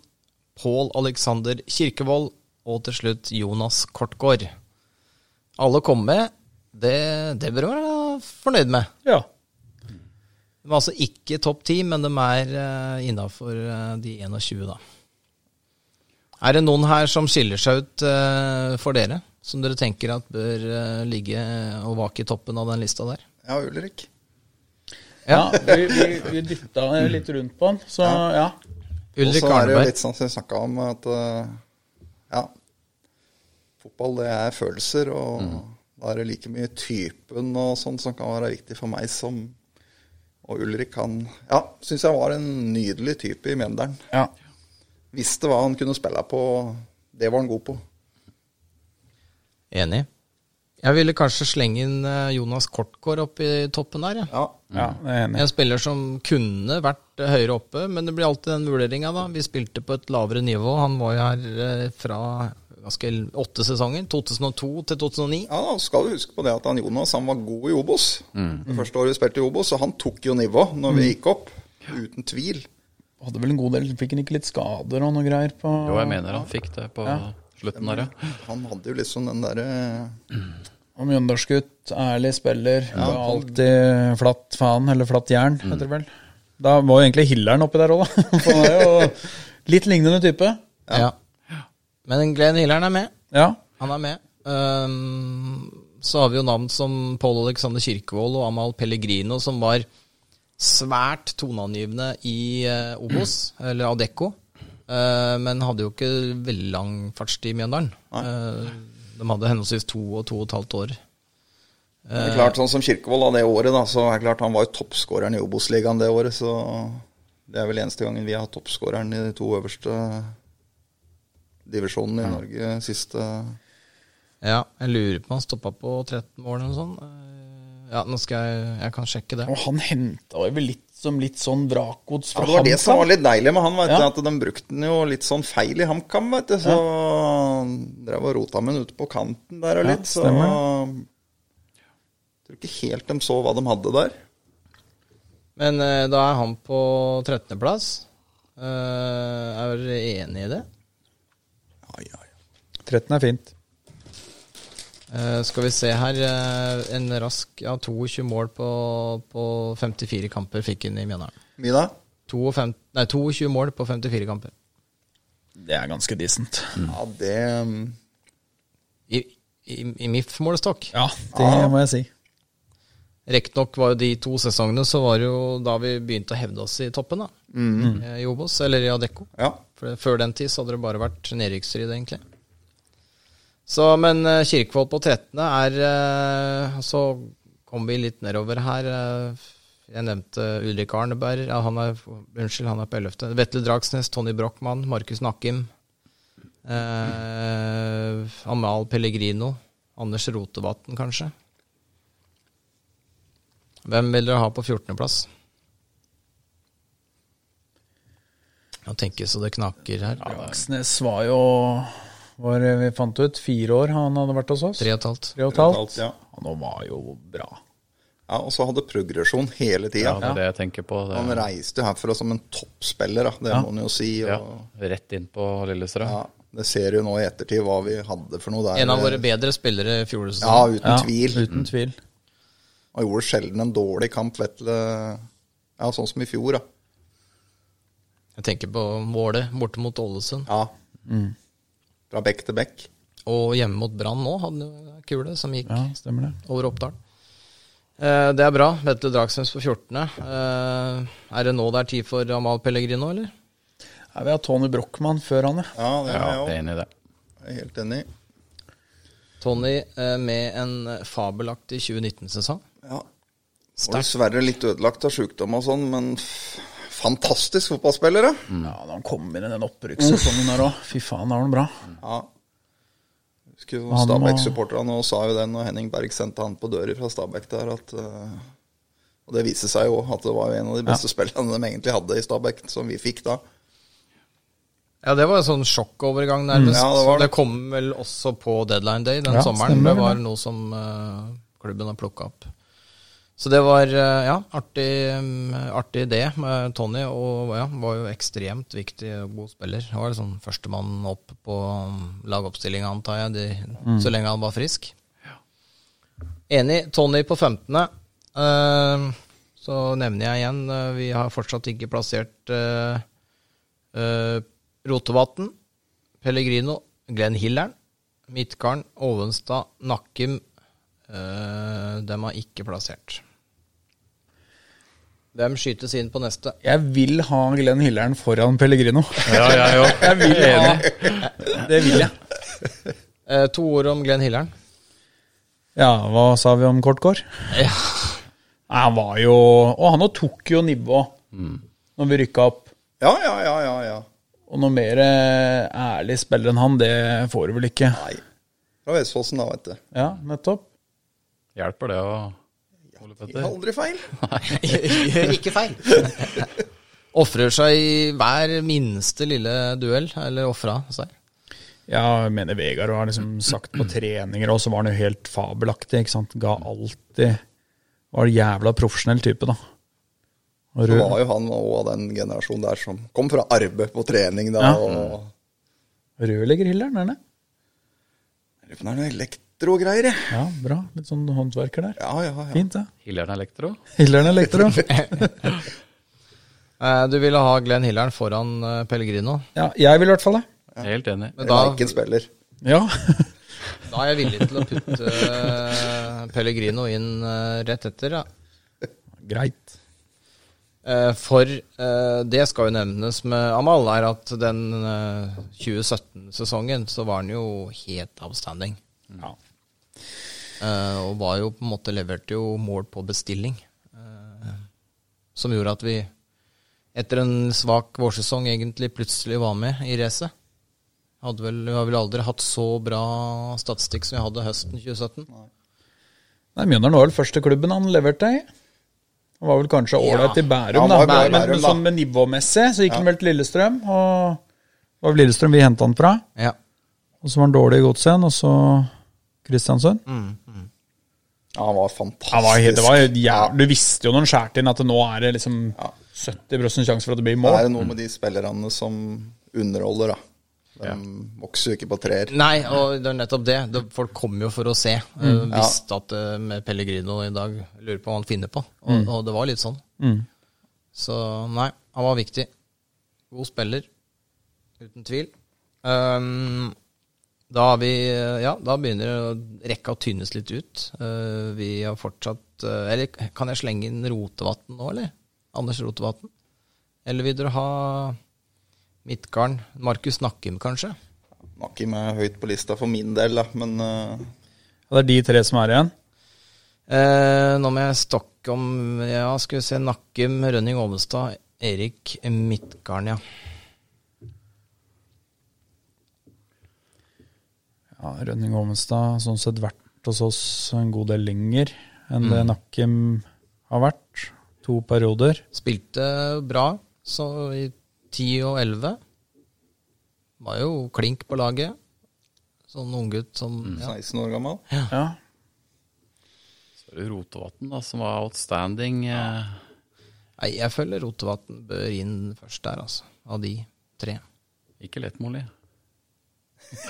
Pål Alexander Kirkevold. Og til slutt Jonas Kortgård. Alle kom med. Det, det bør du være fornøyd med. Ja. De er altså ikke topp 10, men de er uh, innafor de 21, da. Er det noen her som skiller seg ut eh, for dere, som dere tenker at bør eh, ligge og vake i toppen av den lista der? Ja, Ulrik. ja vi vi, vi dytta litt rundt på den, så ja. Og Ulrik så er det jo Arneberg. litt sånn som vi snakka om, at eh, ja Fotball, det er følelser, og da er det like mye typen og sånn som kan være viktig for meg som Og Ulrik, han Ja, syns jeg var en nydelig type i Mjøndalen. ja. Visste hva han kunne spille på, og det var han god på. Enig. Jeg ville kanskje slenge inn eh, Jonas Kortgård opp i toppen der, jeg. Ja. Ja, jeg er enig. En spiller som kunne vært eh, høyere oppe, men det blir alltid den vurderinga, da. Vi spilte på et lavere nivå. Han var jo her eh, fra ganske åtte sesonger. 2002 til 2009. Ja, da skal du huske på det at han Jonas han var god i Obos. Det første året vi spilte i Obos, og han tok jo nivå når vi gikk opp. Uten tvil. Hadde vel en god del Fikk han ikke litt skader og noe greier på Jo, jeg mener han fikk det på slutten der, ja. Han hadde jo liksom den derre Og Mjøndalsgutt, ærlig spiller. Det var alltid flatt faen, eller flatt jern, Mm. heter det vel. Da var jo egentlig Hilleren oppi der òg, da. For han er jo litt lignende type. Ja. Men Glenn Hillern er med. Ja. Han er med. Ehm, så har vi jo navn som Pål Alexander Kirkevold og Amahl Pellegrino, som var svært toneangivende i eh, Obos, eller Adecco. Eh, men hadde jo ikke veldig lang fartstid i Mjøndalen. Eh, de hadde henholdsvis to og to og et halvt år. Det er klart, Sånn som Kirkevold av det året, da, så er det klart han var jo toppskåreren i Obos-ligaen det året. Så det er vel eneste gangen vi har hatt toppskåreren i de to øverste divisjonene i Norge siste Ja, jeg lurer på om han stoppa på 13 mål eller noe sånt. Eh, ja, nå skal jeg Jeg kan sjekke det. Og han henta vel litt som litt sånn vrakgods Ja, fra det var det som var HamKam. litt deilig med han, vet du, Ja. at de brukte den jo litt sånn feil i HamKam, vet du. Så han drev og rota med den ute på kanten der og Ja, litt, så stemmer jeg tror ikke helt de så hva de hadde der. Men eh, da er han på 13. plass. Eh, er dere enig i det? ja, ja. 13 er fint. Eh, skal vi se her. eh, en rask ja, 22 mål på, på 54 kamper fikk han i Mjøndalen. Mye da? 52, nei, 22 mål på 54 kamper. Det er ganske decent. Ja, det mm, I, i, i MIF-målestokk. Ja, det må jeg si. Riktignok var jo de to sesongene så var det jo da vi begynte å hevde oss i toppen, da. Eh, I Obos, eller i Adecco. Ja. For det- før den tid så hadde det bare vært nedrykksstrid, egentlig. Så, men eh, Kirkvold på 13. er eh, Så kom vi litt nedover her. eh, Jeg nevnte Ulrik Arneberg. Ja, han er, unnskyld, han er på 11. Vetle Dragsnes, Tony Brochmann, Markus Nakkim. Eh, Amal Pellegrino. Anders Rotevatn, kanskje. Hvem vil dere ha på 14.-plass? Jeg tenker så det knaker her. Aksnes var jo var, Vi fant ut fire år han hadde vært hos oss. Tre og et halvt. Tre og et halvt. Alt, ja. Han var jo bra. ja, og så hadde progresjon hele tida. Ja, det er det jeg tenker på. Det, Han reiste jo herfra som en toppspiller, da. det må man jo si. Og, ja, ja. rett inn på Lillestrøm. det ser jo nå i ettertid hva vi hadde for noe der. En av våre bedre spillere i fjor Ja, sesong. uten tvil. Uten tvil. Han gjorde sjelden en dårlig kamp, Vetle. Ja, sånn som i fjor, da. Jeg tenker på målet borte mot Ålesund. Ja. Fra bekk til bekk. Og hjemme mot Brann nå, hadde han jo en kule som Mm. gikk Ja, stemmer det. over Oppdal. Eh, det er bra. Vetle Dragsnes på 14. Eh, er det nå det er tid for Amal Pellegrino, eller? Nei, vi har Tony Brochmann før han, ja. Ja, det Ja, er jeg jeg er enig i det. òg helt enig i. Tony eh, med en fabelaktig 2019-sesong. Ja. Var dessverre litt ødelagt av sjukdom og sånn, men f- fantastisk fotballspiller, da. Mm. Ja, da han kom inn i den opprykkssesongen der òg. Fy faen, da var han bra. Ja. Husker jo Han må- Stabæk-supporterne og sa jo det når Henning Berg sendte han på døra fra Stabæk der, at eh, Og det viste seg jo at det var jo en av de beste spillerne de egentlig hadde i Stabæk, som vi fikk da. Ja, det var en sånn sjokkovergang, nærmest. Mm. Ja, det det, var det. kom vel også på deadline day den Ja, sommeren. stemmer det var det. noe som eh, klubben har plukka opp. Så det var eh, ja, artig, mm, artig det med Tony, og ja, var jo ekstremt viktig og god spiller. Han var liksom førstemann opp på lagoppstillinga, antar jeg, de, Mm. så lenge han var frisk. Enig. Tony på 15. Eh, så nevner jeg igjen, eh, vi har fortsatt ikke plassert uh, Eh, Rotevatn, Pellegrino, Glenn Hillern, Midtgarden, Ovenstad, Nakkim. eh, dem har ikke plassert. Hvem skytes inn på neste? Jeg vil ha Glenn Hillern foran Pellegrino. Ja, jeg òg. Jeg vil ha Det vil jeg. Eh, to ord om Glenn Hillern. Ja, hva sa vi om Kortgård? Ja. Nei, Han var jo Og han også tok jo nivå Mm. når vi rykka opp. Ja, ja, ja, ja. ja. Og noe mer eh, ærlig spiller enn han, det får du vel ikke. Nei. Fra Vestfossen, da, vet du. Ja, nettopp. Hjelper det å Ole Det er Petter? aldri feil. Gjør ikke feil. Ofrer seg i hver minste lille duell, eller ofra seg. Jeg mener Vegard har liksom sagt på treninger, og så var han jo helt fabelaktig. ikke sant? Ga alltid Var en jævla profesjonell type, da. Og Så rød. var jo han òg av den generasjonen der som kom fra arbeid på trening, da. Ja. og... Rødlegger Hillern, er det? Lurer på om det er noe elektrogreier, jeg. Ja, bra. Litt sånn håndverker der. Ja, ja, ja. Fint, det. Hillern Elektro? Hillern elektro. Eh, du ville ha Glenn Hillern foran eh, Pellegrino. Ja, jeg vil i hvert fall det. Helt enig. Men Da... da, Ikke en spiller. Ja. Da er jeg villig til å putte eh, Pellegrino inn eh, rett etter. Ja. Greit. Eh, For eh, det skal jo nevnes med Amal, er at den eh, 2017-sesongen så var han jo helt outstanding. Ja. Eh, Og var jo på en måte leverte jo mål på bestilling. eh, Som gjorde at vi etter en svak vårsesong egentlig plutselig var med i racet. Hadde vel, vi har vel aldri hatt så bra statistikk som vi hadde høsten 2017. Nei, Mjøndalen var vel første klubben han leverte i. Han var vel kanskje ålreit i Ja, Bærum, han da. var bra i men, Bærum, men da. sånn med nivåmessig så gikk han vel til Lillestrøm. Og det var vel Lillestrøm vi henta han fra. Ja. Og så var han dårlig i Godset, og så Kristiansund. Mm. Ja, han var fantastisk. Han var, helt- det var, jo jæv- du visste jo når han skjærte inn at nå er det liksom 70 sjanse for at det blir Det er mål. noe med de spillerne som underholder, da. De vokser jo ikke på trær. Nei, og det er nettopp det. det folk kommer jo for å se. Eh, visste at eh, med Pellegrino i dag Lurer på hva han finner på. Og, og det var litt sånn. Så nei, han var viktig. God spiller. Uten tvil. Ehm, da har vi eh, Ja, da begynner rekka å tynnes litt ut. Eh, vi har fortsatt eh, Eller kan jeg slenge inn Rotevatn nå, eller? Anders Rotevatn? Eller vil dere ha Midtgarden? Markus Nakkim, kanskje? Nakim er høyt på lista for min del, da, men eh, Ja, Det er de tre som er igjen. Eh, nå må jeg stokke om Ja, skal vi se. Nakkim, Rønning Ovestad, Erik Midtgarn, ja. Ja, Rønning Ovenstad har sånn sett vært hos oss en god del lenger enn det Nakkim har vært. To perioder. Spilte bra så i 10 og 11. Var jo klink på laget. Sånn unggutt som ja. 16 år gammel. Ja. Så er det Rotevatn, da, som var outstanding. eh, Nei, jeg føler Rotevatn bør inn først der, altså. Av de tre. Ikke lettmålig.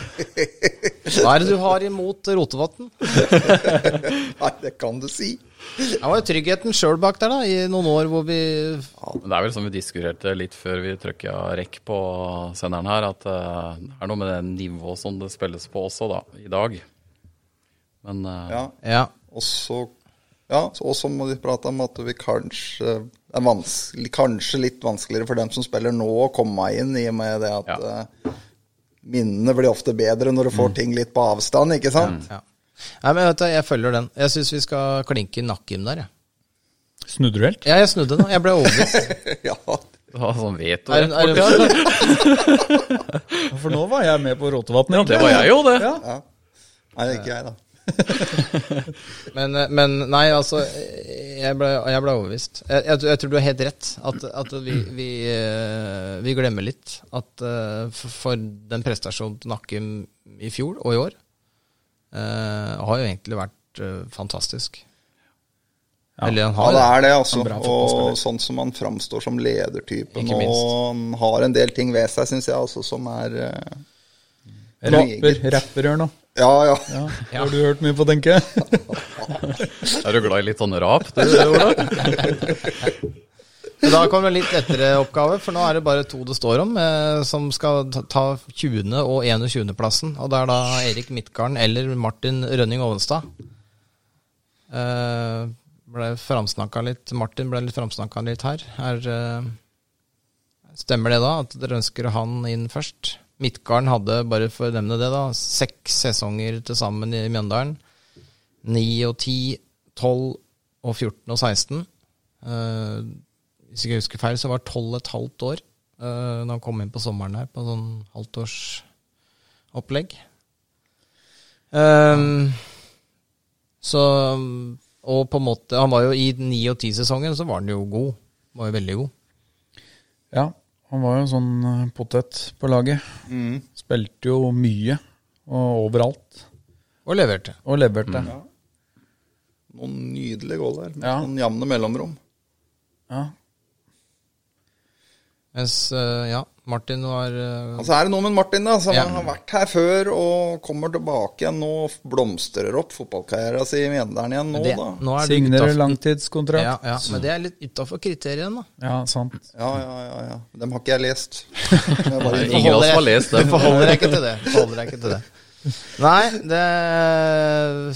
Hva er det du har imot Rotevatn? Nei, det kan du si! Det var jo tryggheten sjøl bak der, da, i noen år hvor vi Men det er vel som vi diskuterte litt før vi trykka rekk på senderen her, at eh, det er noe med det nivået som det spilles på også, da, i dag. Men eh, Ja. Ja. Og så ja, så- og så må vi prate om at vi kanskje det er vanskelig, kanskje litt vanskeligere for dem som spiller nå, å komme inn, i og med det at Ja. eh, minnene blir ofte bedre når du får ting litt på avstand, ikke sant? ja. Nei, men vet du, jeg følger den. Jeg syns vi skal klinke Nakkim der, jeg. Ja. Snudduelt. Ja, jeg snudde nå. Jeg ble overbevist. ja. ja, sånn vet du Er, det. er, er, For nå var jeg med på Rotevatn. Ja, det var jeg jo, det. Nei, det er ikke jeg, da. men, eh, men nei, altså Jeg ble, jeg ble overbevist. Jeg, jeg, jeg tror du har helt rett. At, at vi, vi, eh, vi glemmer litt at eh, f- for den prestasjonen til Nakkim i fjor og i år eh, har jo egentlig vært eh, fantastisk. Eller han Ja, har det er det, En altså. bra fotballspiller. Og sånn som han framstår som ledertype Ikke nå. minst. Han har en del ting ved seg, syns jeg, altså, som er eh, Rapper, rapper gjør noe. Ja, ja. Ja. Det har du hørt mye på, tenker jeg. Er du glad i litt sånn rap, du, Ola? Men Da kommer en litt lettere oppgave, for nå er det bare to det står om, eh, som skal ta- ta 20. og 21. plassen. Og det er da Erik Midtgarden eller Martin Rønning Ovenstad. Eh, ble framsnakka litt. Martin ble litt framsnakka litt her. her eh, stemmer det da, at dere ønsker han inn først? Midtgarden hadde, bare for å nevne det, da, seks sesonger til sammen i Mjøndalen. 9 og 10, 12 og 14 og 16. Eh, hvis ikke jeg husker feil, så var 12 et halvt år uh, da han kom inn på sommeren her, på sånn halvtårsopplegg. Um, så Og på en måte Han var jo i 9 og 10-sesongen, så var han jo god. Var jo veldig god. Ja, han var jo en sånn eh, potet på laget. Mm. Spilte jo mye og overalt. Og leverte. Og leverte. Noen nydelige gål der, med Ja. sånn jevne mellomrom. Ja. Mens eh, ja, Martin var eh, Altså er det noe med Martin, da, som Ja. har vært her før og kommer tilbake igjen nå og blomstrer opp fotballkarrieren sin i Mjøndalen igjen nå, det, da. Nå er det Signerer utenfor- langtidskontrakt. Ja, ja, men det er litt utafor kriteriene, da. Ja, sant. Ja, ja, ja. ja. Dem har ikke jeg lest. Jeg er bare innom. Ingen av oss har lest den. Forholder deg ikke til det. Forholder deg ikke til det. Nei, det,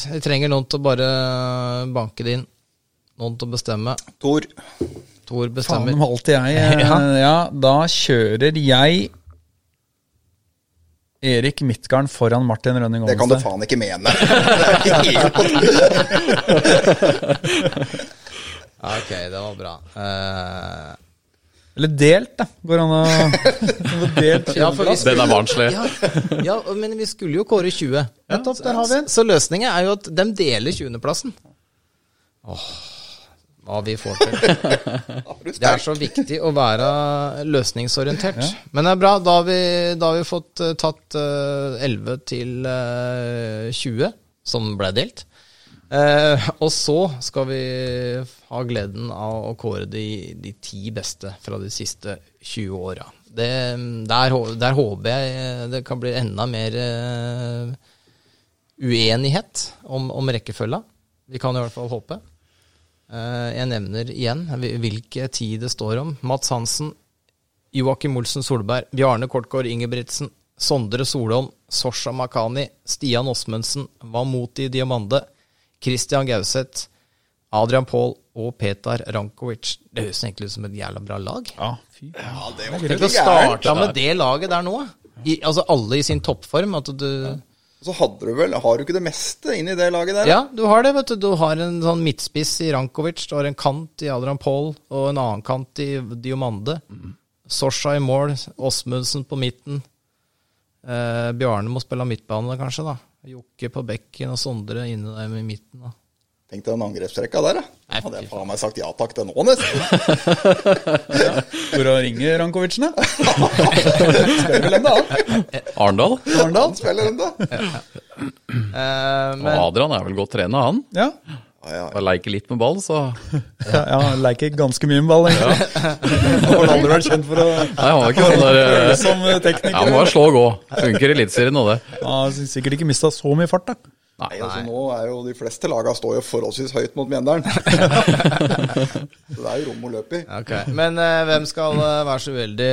jeg trenger noen til å bare banke det inn. Noen til å bestemme. Tor. Tor Faen bestemmer. om alltid jeg. eh, Ja. Ja, da kjører jeg Erik Midtgarden foran Martin Rønning Det kan du Olmsted. faen ikke mene. Det er ikke helt- Ja, ok, det var bra. Eh, Eller delt, da. Går an å delt ja, for vi Den er barnslig. ja, ja, men vi skulle jo kåre 20. Nettopp, der har vi en. Så løsningen er jo at de deler 20.-plassen. Åh, hva vi får til. Det er så viktig å være løsningsorientert. Men det er bra. Da har vi, da har vi fått eh, tatt eh, 11 til eh, 20, som ble delt. Eh, og så skal vi ha gleden av å kåre de, de ti beste fra de siste 20 åra. Det, der, hå- der håper jeg eh, det kan bli enda mer eh, uenighet om, om rekkefølga. Vi kan i hvert fall håpe. Eh, jeg nevner igjen hvil- hvilke tid det står om. Mats Hansen, Joakim Olsen Solberg, Bjarne Kortgård Ingebrigtsen, Sondre Solholm, Sosha Makani, Stian Osmundsen, Vamoti Diamande, Christian Gauseth, Adrian Paul og Petar Rankovic. Det høres egentlig ut som et jævla bra lag. Ja, fy Tenk å starte med det laget der nå. I, altså alle i sin toppform. At du, Så hadde du vel Har du ikke det meste inn i det laget der? da? ja, du har det. vet Du Du har en sånn midtspiss i Rankovic, du har en kant i Adrian Paul og en annen kant i Diomande. Sosha i mål, Osmundsen på midten. Eh, Bjarne må spille midtbane, kanskje. da Jokke på bekken og Sondre inne der i midten. da Tenk deg den angrepsrekka der, da. Nei, Hadde jeg fy faen. faen meg sagt ja takk til nå, nesten. Hvor ringer Rankovicene? Spør vel ennå, han. Arendal? Arendal spiller ennå. Eh, Og men Adrian er vel godt trena, han? Ja. Bare leker litt med ball, så Nei, Ja, ja, han leker ganske mye med ball, egentlig. Han har aldri vært kjent for å han var ikke sånn der eh, føle som ja, Han må tekniker. slå og gå. Funker i Eliteserien og det. Han har sikkert ikke mista så mye fart, da. Nei, altså nå er jo de fleste laga står jo forholdsvis høyt mot Mjøndalen. Så det er jo rom å løpe i. Ok, Men eh, hvem skal eh, være så uheldig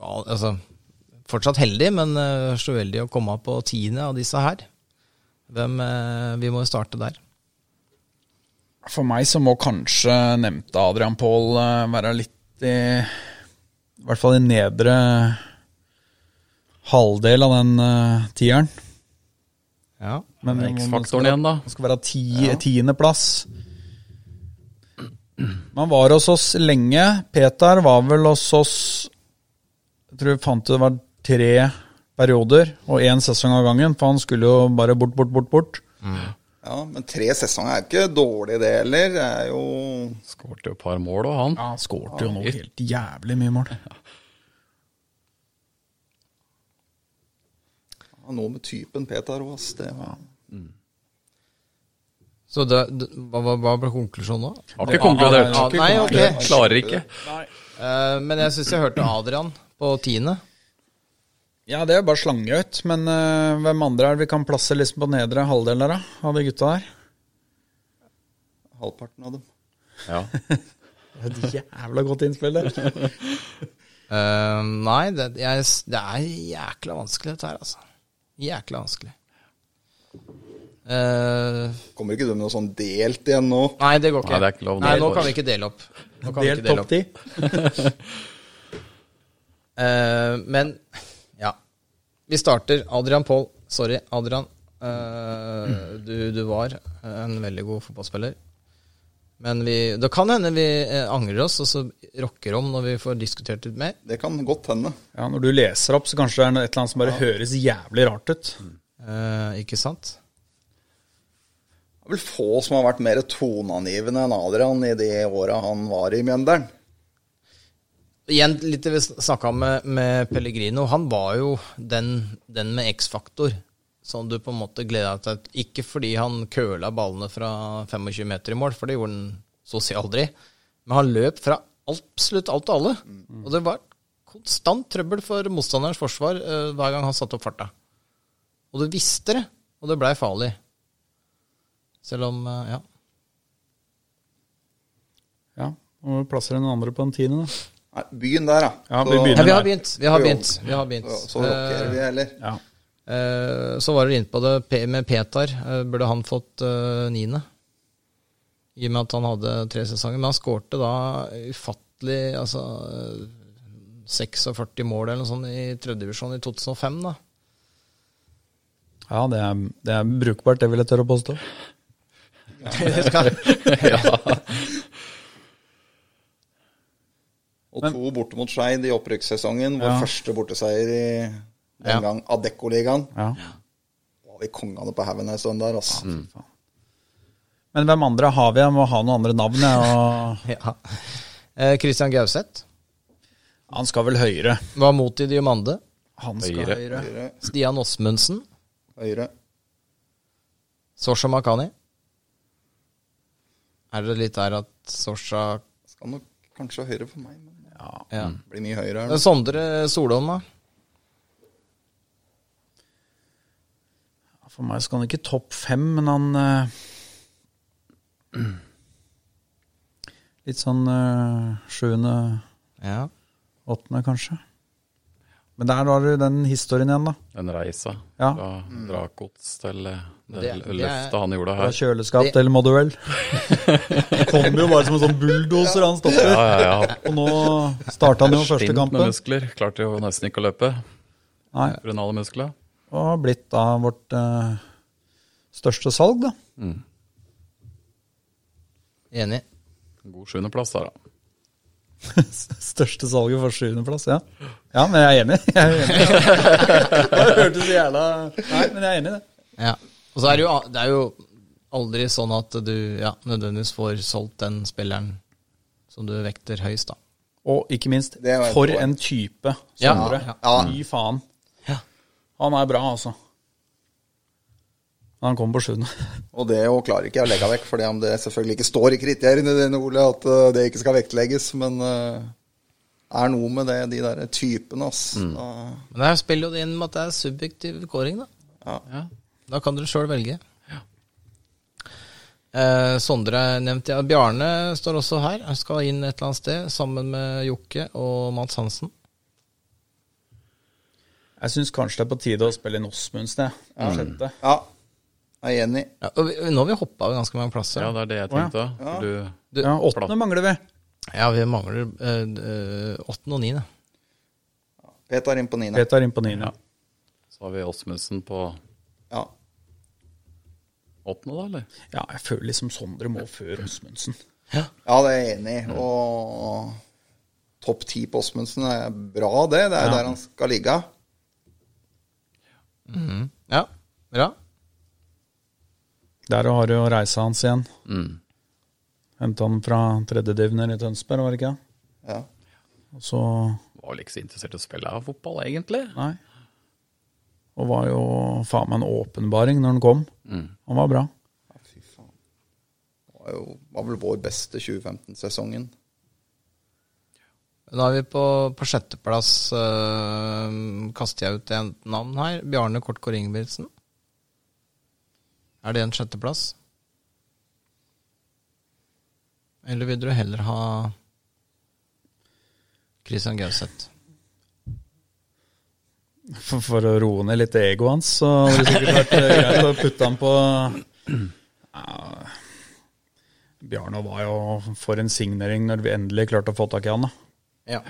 al- Altså, fortsatt heldig, men eh, så uheldig å komme på tiende av disse her? Hvem eh, Vi må jo starte der. For meg så må kanskje nevnte Adrian Paul eh, være litt i I hvert fall i nedre halvdel av den eh, tieren. Ja. Men Men om det skal X-faktoren være- igjen, da. det skal være ti, tiendeplass. Man var hos oss lenge. Peter var vel hos oss Jeg tror vi fant ut det var tre perioder og én sesong av gangen, for han skulle jo bare bort, bort, bort. bort. Ja, Men tre sesonger er jo ikke dårlig, det heller. Det er jo Skårte jo et par mål òg, han. Ja, han skårte jo nå helt jævlig mye mål. ja, noe med typen Peter òg, ass. Det var Så det, det, hva, hva- hva ble konklusjonen nå? Har ikke konkludert. Ja, nei, ok. Klarer ikke. Eh, men jeg syns jeg hørte Adrian på tiende. Ja, det er jo bare slange ut. Men eh, hvem andre er det vi kan plasse liksom på nedre halvdel der, da? Av de gutta der? halvparten av dem. Ja. Det er et jævla godt innspill, det. Eh, nei, det, jeg, s- det er jækla vanskelig dette her, altså. Jækla vanskelig. Eh, Kommer ikke du med noe sånn delt igjen nå? nei, det går ikke. Nei, det er ikke lov. Nei, nå Det- kan vi ikke dele opp. Nå kan vi ikke Delt dele topp opp. ti. Eh, men ja. Vi starter. Adrian Paul. Sorry, Adrian. Eh, du, du var en veldig god fotballspiller. Men vi, det kan hende vi eh, angrer oss, og så rocker om når vi får diskutert litt mer. Det kan godt hende. Ja, når du leser opp, så kanskje det er noe- et eller annet som bare høres jævlig rart ut. Eh, ikke sant? Det er vel få som har vært mer toneangivende enn Adrian i de åra han var i Mjøndalen. Igjen litt det vi snakka om med, med Pellegrino. Han var jo den, den med X-faktor som du på en måte gleda deg til. Ikke fordi han køla ballene fra 25 meter i mål, for det gjorde han så å si aldri. Men han løp fra absolutt alt og alle. Og det var konstant trøbbel for motstanderens forsvar eh, hver gang han satte opp farta. Og du visste det, og det blei farlig. Selv om eh, Ja. Ja, og plasser den andre på en tiende, da. Nei, Byen der, da. Ja, vi begynner. ja vi der. har begynt. Vi har begynt. Vi har begynt. Så, så rocker vi, eller? Ja. Eh, Så var dere inne på det Pe- med Petar. eh, Burde han fått eh, niende? I og med at han hadde tre sesonger. Men han skårte da ufattelig altså, eh, 46 mål eller noe sånt i tredjedivisjon i 2005. da. Ja, det er, det er brukbart, det vil jeg tørre å påstå. Det skal- Og to borte mot Skeid i opprykkssesongen. Vår Ja. første borteseier i den Ja. gang Adeccoligaen. Ja. Da var vi kongene på haugen en stund der, altså. Mm. Men hvem andre har vi? Jeg må ha noen andre navn, jeg. Og ja. Eh, Christian Gauseth han skal vel høyere. var mot i Diomande. Han skal Høyere. høyere. Høyre, Stian Osmundsen. høyre. Sosha Makani. Er det litt der at Sosha Skal nok Kanskje høyre for meg, men det Ja. blir mye høyere. Men Sondre Solholm, da? For meg skal han ikke topp fem, men han eh, Litt sånn eh, sjuende, Ja. åttende, kanskje. Men der har du den historien igjen, da. Den reisa Ja. fra Dracots til eh, det, Mm. Det- det er- løftet han gjorde Fra her. kjøleskap Det- til moduell. Han kom jo bare som en sånn bulldoser, han stopper. Ja, ja, ja. Og nå starta han jo første Stint med kampen. muskler. Klarte jo nesten ikke å løpe Nei, pga. alle musklene. og har blitt da vårt eh, største salg, da. Enig. God sjuendeplass der, da. Største salget for sjuendeplass, ja. Ja, men jeg er enig. Jeg er enig. Det hørtes jævla Nei, men jeg er enig i det. Ja. Og så er det, jo, det er jo aldri sånn at du ja, nødvendigvis får solgt den spilleren som du vekter høyest, da. Og ikke minst, Det var et for poeng. en type Ja, Sondre. ja. Fy faen. Ja. Han er bra, altså. Han kommer på sjuende. Og det jo klarer ikke jeg å legge vekk, fordi om det selvfølgelig ikke står i kriteriene dine, Ole, at eh, det ikke skal vektlegges, men eh, er noe med det, de der typene, ass. Da- Men der spiller jo det inn med at det er subjektiv kåring, da. Ja. Da kan dere sjøl velge. Eh, Sondre nevnte jeg. Bjarne står også her. Han skal inn et eller annet sted sammen med Jokke og Mats Hansen. Jeg syns kanskje det er på tide å spille inn Osmundsen, jeg. Den sjette. Ja, jeg er enig. Ja, og vi, nå har vi hoppa over ganske mange plasser. ja, Ja, det er det jeg tenkte. Du, Ja, åttende mangler vi. vi mangler eh, eh, åttende og niende. Peter inn på niende. Peter inn på niende. så har vi Åsmundsen på Ja. åttende, da, eller? Ja, jeg føler liksom Sondre må før Osmundsen. ja, det er jeg enig i. Og topp ti på Osmundsen er bra, det. Det er der han skal ligge. Ja, bra. Der har du jo reisa hans igjen. Henta han fra tredjedivner i Tønsberg, var det ikke? det? Ja. Og så Var vel ikke så interessert i å spille av fotball, egentlig. Nei. Og var jo faen meg en åpenbaring når han kom. Han var bra. ja, fy faen. Det var, jo, var vel vår beste 2015-sesongen. Da er vi på, på sjetteplass. eh, kaster jeg ut et navn her. Bjarne Kortgård Ingebrigtsen. Er det en sjetteplass? Eller vil du heller ha Christian Gauseth? For, for å roe ned litt egoet hans, så hadde det sikkert vært eh, greit å putte han på Ja. Bjarne var jo for en signering når vi endelig klarte å få tak i han. da. Ja.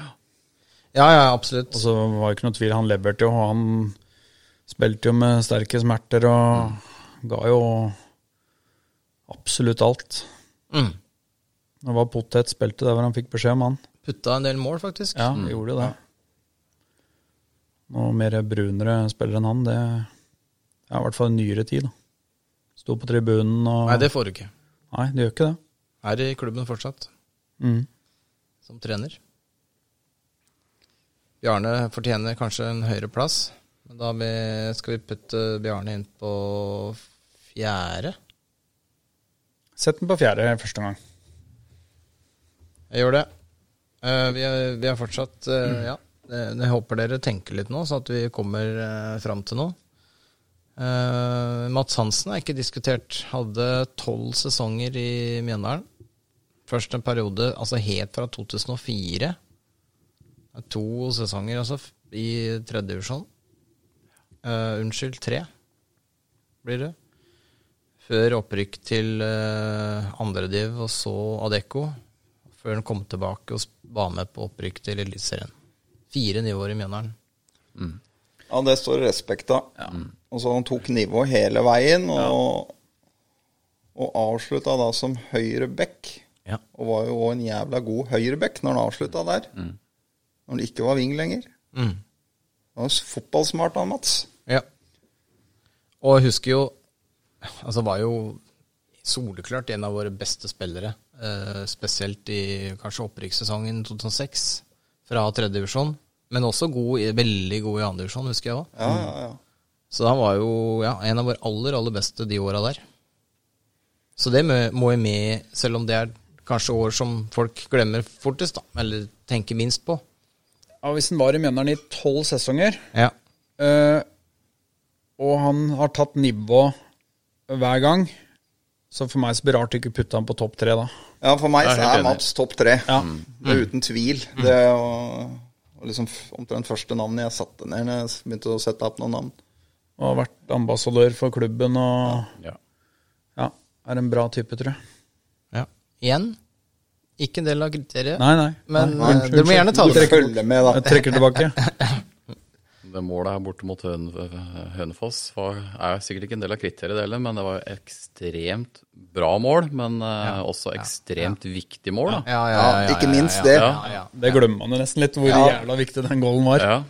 Ja, ja, absolutt. Og så var det ikke noe tvil, han leverte jo, og han spilte jo med sterke smerter og ga jo absolutt alt. Mm. Det var potet spilte der hvor han fikk beskjed om han. Putta en del mål, faktisk. Ja, det gjorde jo det. Noe mer brunere spiller enn han, det er i hvert fall nyere tid. da. Sto på tribunen og Nei, det får du ikke. Nei, det gjør ikke det. Er i klubben fortsatt, Mm. som trener. Bjarne fortjener kanskje en høyere plass, men da vi- skal vi putte Bjarne inn på fjerde. Sett den på fjerde første gang. Jeg gjør det. Eh, vi, er, vi er fortsatt eh, Ja. Eh, Jeg håper dere tenker litt nå, sånn at vi kommer uh, fram til noe. Eh, Mats Hansen er ikke diskutert. Hadde tolv sesonger i Mjøndalen. Først en periode, altså helt fra 2004. Det er To sesonger, altså, f- i tredje divisjon. Eh, unnskyld, tre blir det. Før opprykk til eh, andre div, og så Adecco. Før han kom tilbake og sp- var med på opprykk til Eliteserien. Fire nivåer i Mjøndalen. Ja, det står respekt av. Mm. Og så han tok nivået hele veien, og, og avslutta da som høyreback. Ja. Og var jo òg en jævla god høyreback når han avslutta der. Mm. Når det ikke var wing lenger. Mm. Han var fotballsmart, han Mats. Ja. Og jeg husker jo Altså var jo soleklart en av våre beste spillere. Eh, spesielt i kanskje opprykkssesongen 2006 fra tredjedivisjon. Men også god, i- veldig god i andredivisjon, husker jeg òg. Ja, Mm. ja, ja. Så han var jo ja, en av våre aller, aller beste de åra der. Så det mø- må jo med, selv om det er kanskje år som folk glemmer fortest, da, eller tenker minst på. Ja, hvis han var i Mjøndalen i tolv sesonger, Ja. eh, og han har tatt nivå hver gang, så for meg så blir det rart å ikke putte han på topp tre, da. Ja, for meg Jeg er så helt er enig. Mm. Mats topp tre. Ja. Mm. Det er uten tvil. Det er jo- og liksom f- omtrent første navnet jeg satte ned når jeg begynte å sette opp noen navn. Og har vært ambassadør for klubben og Ja. Ja, er en bra type, tror jeg. ja. Igjen, ikke en del av kriteriet. Nei, nei. Men nei, eh, dere må gjerne ta det Du med. følger med, da. Jeg trekker tilbake. Det målet her borte mot Høn, Hønefoss var, er sikkert ikke en del av kriteriet det heller, men det var ekstremt bra mål. Men eh, også ekstremt viktig mål, da. Ja, ja, Ja, ikke minst det. Ja. Ja, ja. Det glemmer man jo nesten litt, hvor Ja. jævla viktig den goalen var. Ja.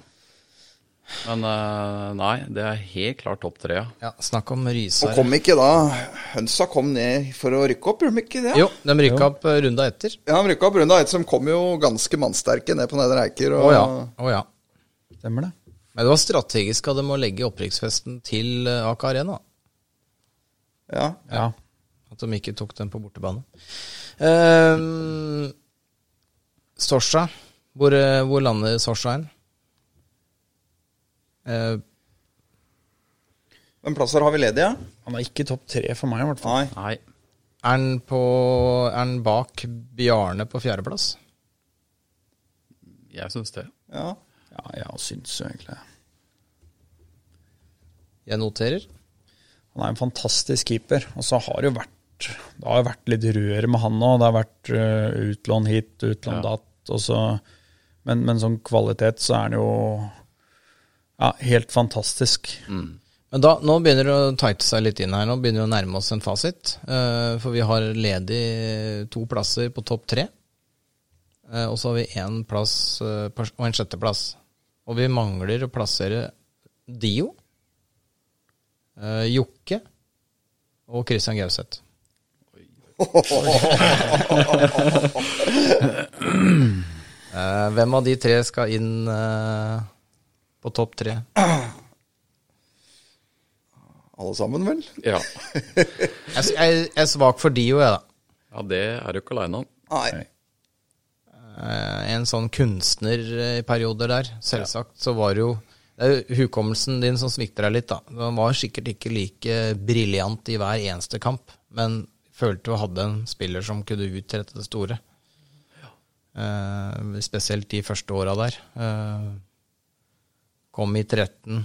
Men eh, nei, det er helt klart topp tre, ja. ja, snakk om Og Rysar. kom ikke da Hønsa kom ned for å rykke opp, gjorde de ikke det? Jo, de rykka opp eh, runda etter. Ja, de rykka opp runda ett, som kom jo ganske mannsterke ned på Nedre Eiker. Å Og, ja. Å, ja. Stemmer det. Men det var strategisk av dem å legge opprykksfesten til eh, Aker Arena. ja. Ja. At de ikke tok den på bortebane. Ehm, Sorsa. Hvor, eh, hvor lander Sorsa hen? Eh, Hvem plasser har vi ledige? Han er ikke topp tre for meg, i hvert fall. Nei. Nei. er han på Er han bak Bjarne på fjerdeplass? Jeg syns det. Ja. Ja, jeg syns jo egentlig det. Jeg noterer. Han er en fantastisk keeper. Og så har det jo vært Det har jo vært litt rør med han òg. Det har vært øh, utlån hit, utlån datt. Og så, men, men som kvalitet så er han jo ja, helt fantastisk. Men da, nå begynner det å tighte seg litt inn her. Nå begynner vi å nærme oss en fasit. Eh, for vi har ledig to plasser på topp tre. Eh, og så har vi én plass eh, på- og en sjetteplass. Og vi mangler å plassere Dio, eh, Jokke og Christian Gauseth. Eh, hvem av de tre skal inn eh, på topp tre? Alle sammen, vel? Ja, Jeg, s- jeg, jeg er svak for Dio, jeg, da. ja det er du ikke aleine om. Nei. eh, en sånn kunstner eh, i perioder der. Selvsagt så var det jo det er jo hukommelsen din som svikter deg litt, da. Han var sikkert ikke like briljant i hver eneste kamp, men følte du hadde en spiller som kunne utrette det store. Eh, spesielt de første åra der. Eh, kom i 13.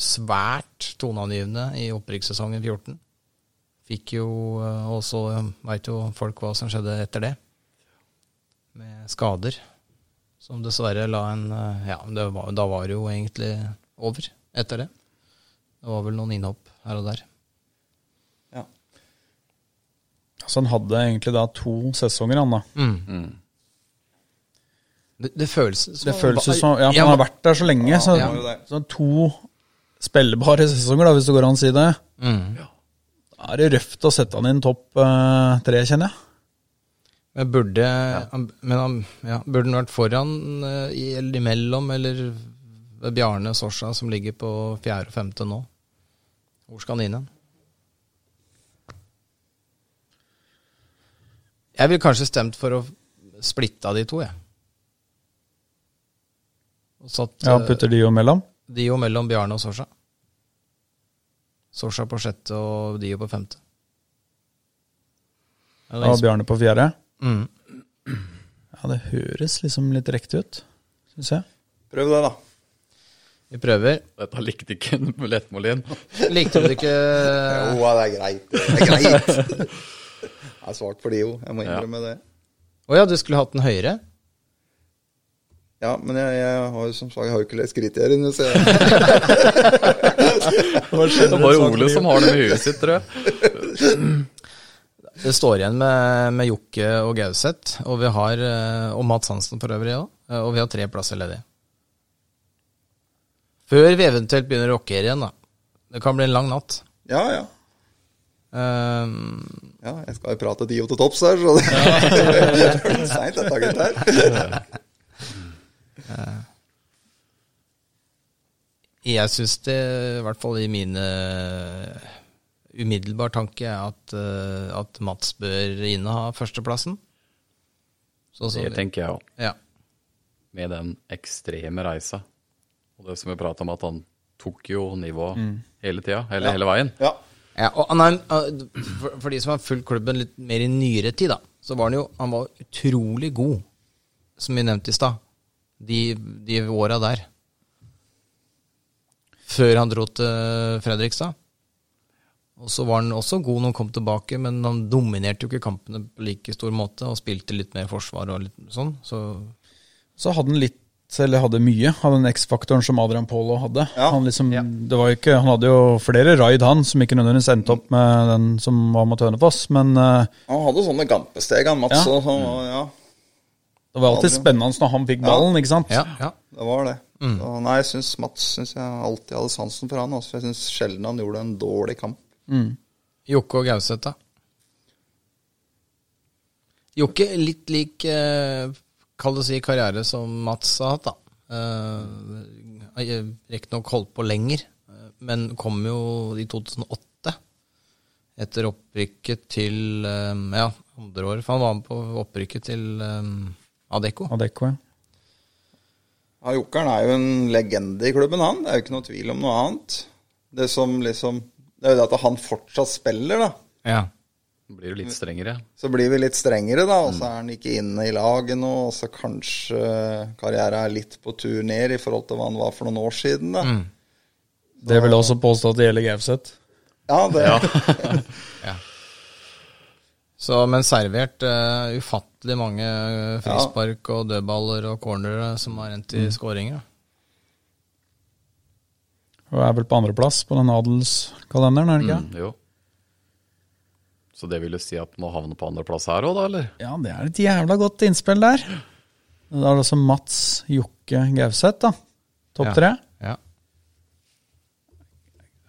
Svært toneangivende i opprykkssesongen 14. Fikk jo eh, også Veit jo folk hva som skjedde etter det med skader. Som dessverre la en eh, Ja, men det var, da var det jo egentlig over etter det. Det var vel noen innhopp her og der. Ja. Så han hadde egentlig da to sesonger, han da. Det, det føles som Det føles jo som Ja, for Ja, han har men- vært der så lenge. Så, han var jo der. så to spillebare sesonger, da, hvis det går an å si det. Mm. Da er det røft å sette han inn topp eh, tre, kjenner jeg. Men burde han- Men han ja, burde han vært foran eh, i, eller imellom, eller ved Bjarne Sorsa, som ligger på fjerde og femte nå? Hvor skal han inn hen? Jeg ville kanskje stemt for å splitte av de to, jeg. Og satt Ja, eh, putter de jo mellom. Dio mellom Bjarne og Sorsa. Sorsa på sjette og Dio på femte. Eller Og Bjarne på fjerde. Mm. Ja, det høres liksom litt riktig ut, syns jeg. Prøv det, da. Vi prøver. Dette likte ikke Lettmolin. Likte du det ikke Eh. Jo, ja, det er greit. Det er greit. Jeg er svak for de jo, jeg må innrømme det. Å ja, du skulle hatt den høyere? Ja, men jeg, jeg har jo som sagt jeg har jo ikke lest kriteriene, så jeg, Det er bare Ole som har det med huet sitt, tror jeg. Det står igjen med, med Jokke og Gauseth, og vi har eh, Og Mats Hansen for øvrig òg. Og vi har tre plasser ledige. Før vi eventuelt begynner å rockere igjen, da. Det kan bli en lang natt. ja, ja. Ehm, ja, jeg skal jo prate Dio til topps her, så det det er litt seint, dette gutter. Jeg syns det, i hvert fall i mine eh, umiddelbar tanke er at, eh, at Mats bør inneha førsteplassen. Så, så, Det tenker jeg òg. ja. med den ekstreme reisa. Og det som vi prata om, at han tok jo nivået hele tida, hele, hele veien. Ja. Ja, og han er, en- eh, for, for de som har fulgt klubben litt mer i nyere tid, da, så var han jo han var utrolig god, som vi nevnte i stad, de, de åra der. Før han dro til eh, Fredrikstad. Og så var han også god når han kom tilbake, men han dominerte jo ikke kampene på like stor måte, og spilte litt mer forsvar og litt sånn. Så Så hadde han litt, eller hadde mye, av den X-faktoren som Adrian Polo hadde. Ja. Han, liksom, det var jo ikke, han hadde jo flere raid, han, som ikke nødvendigvis endte opp med den som var mot Hønefoss, men eh, Han hadde sånne gampesteg, han Mats. Ja. og sånn, og ja, det var alltid spennende når han fikk ballen, ikke sant? ja, ja. det var det. Mm. Så, nei, jeg syns Mats synes jeg alltid hadde sansen for han. Altså, jeg syns sjelden han gjorde en dårlig kamp. Jokke og Gauseth, da? Jokke litt lik eh, Kall det si karriere som Mats har hatt, da. Eh, eh, Riktignok holdt på lenger, eh, men kom jo i 2008. Etter opprykket til eh, Ja, andre år. For han var med på opprykket til eh, Adecco. Adecco, ja. Ja, Jokeren er jo en legende i klubben, han. Det er jo ikke noe tvil om noe annet. Det som liksom Det er jo det at han fortsatt spiller, da. Ja. Det Blir jo litt strengere. Så blir vi litt strengere, da. Og så er han ikke inne i laget nå. Og så kanskje karrieren er litt på tur ned i forhold til hva han var for noen år siden, Mm. da. Mm. Det vil jeg også påstå at det gjelder Gauseth. Ja, det, Så, men servert eh, ufattelig mange eh, frispark og dødballer og cornere som har endt i skåringer. da. Og er vel på andreplass på den adelskalenderen, er det ikke? Mm, jo. Så det vil jo si at nå havner på andreplass her òg, da, eller? Ja, det er et jævla godt innspill der. Da er det altså Mats, Jokke, Gauseth, da. Topp Ja. tre. Ja.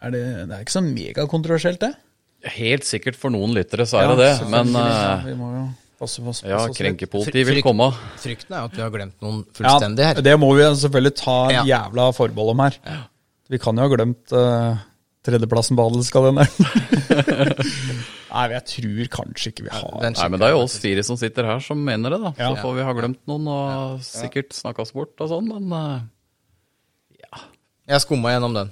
Er det, det er ikke så megakontroversielt, det. Helt sikkert for noen lyttere så er det det, men Selvfølgelig, eh, ja, vi må jo passe på oss. ja, passe oss litt. krenkepolitiet vil Frykt- komme. Frykten er jo at vi har glemt noen Ja, fullstendig her. det må vi selvfølgelig ta Ja. jævla forbehold om her. Vi kan jo ha glemt eh, tredjeplassen på adelskalenderen. Nei, men jeg tror kanskje ikke vi har Den Nei, men det er jo oss fire som sitter her som mener det, da. Så Ja. får vi ha glemt noen og sikkert snakka oss bort og sånn, men eh, Jeg skumma gjennom den.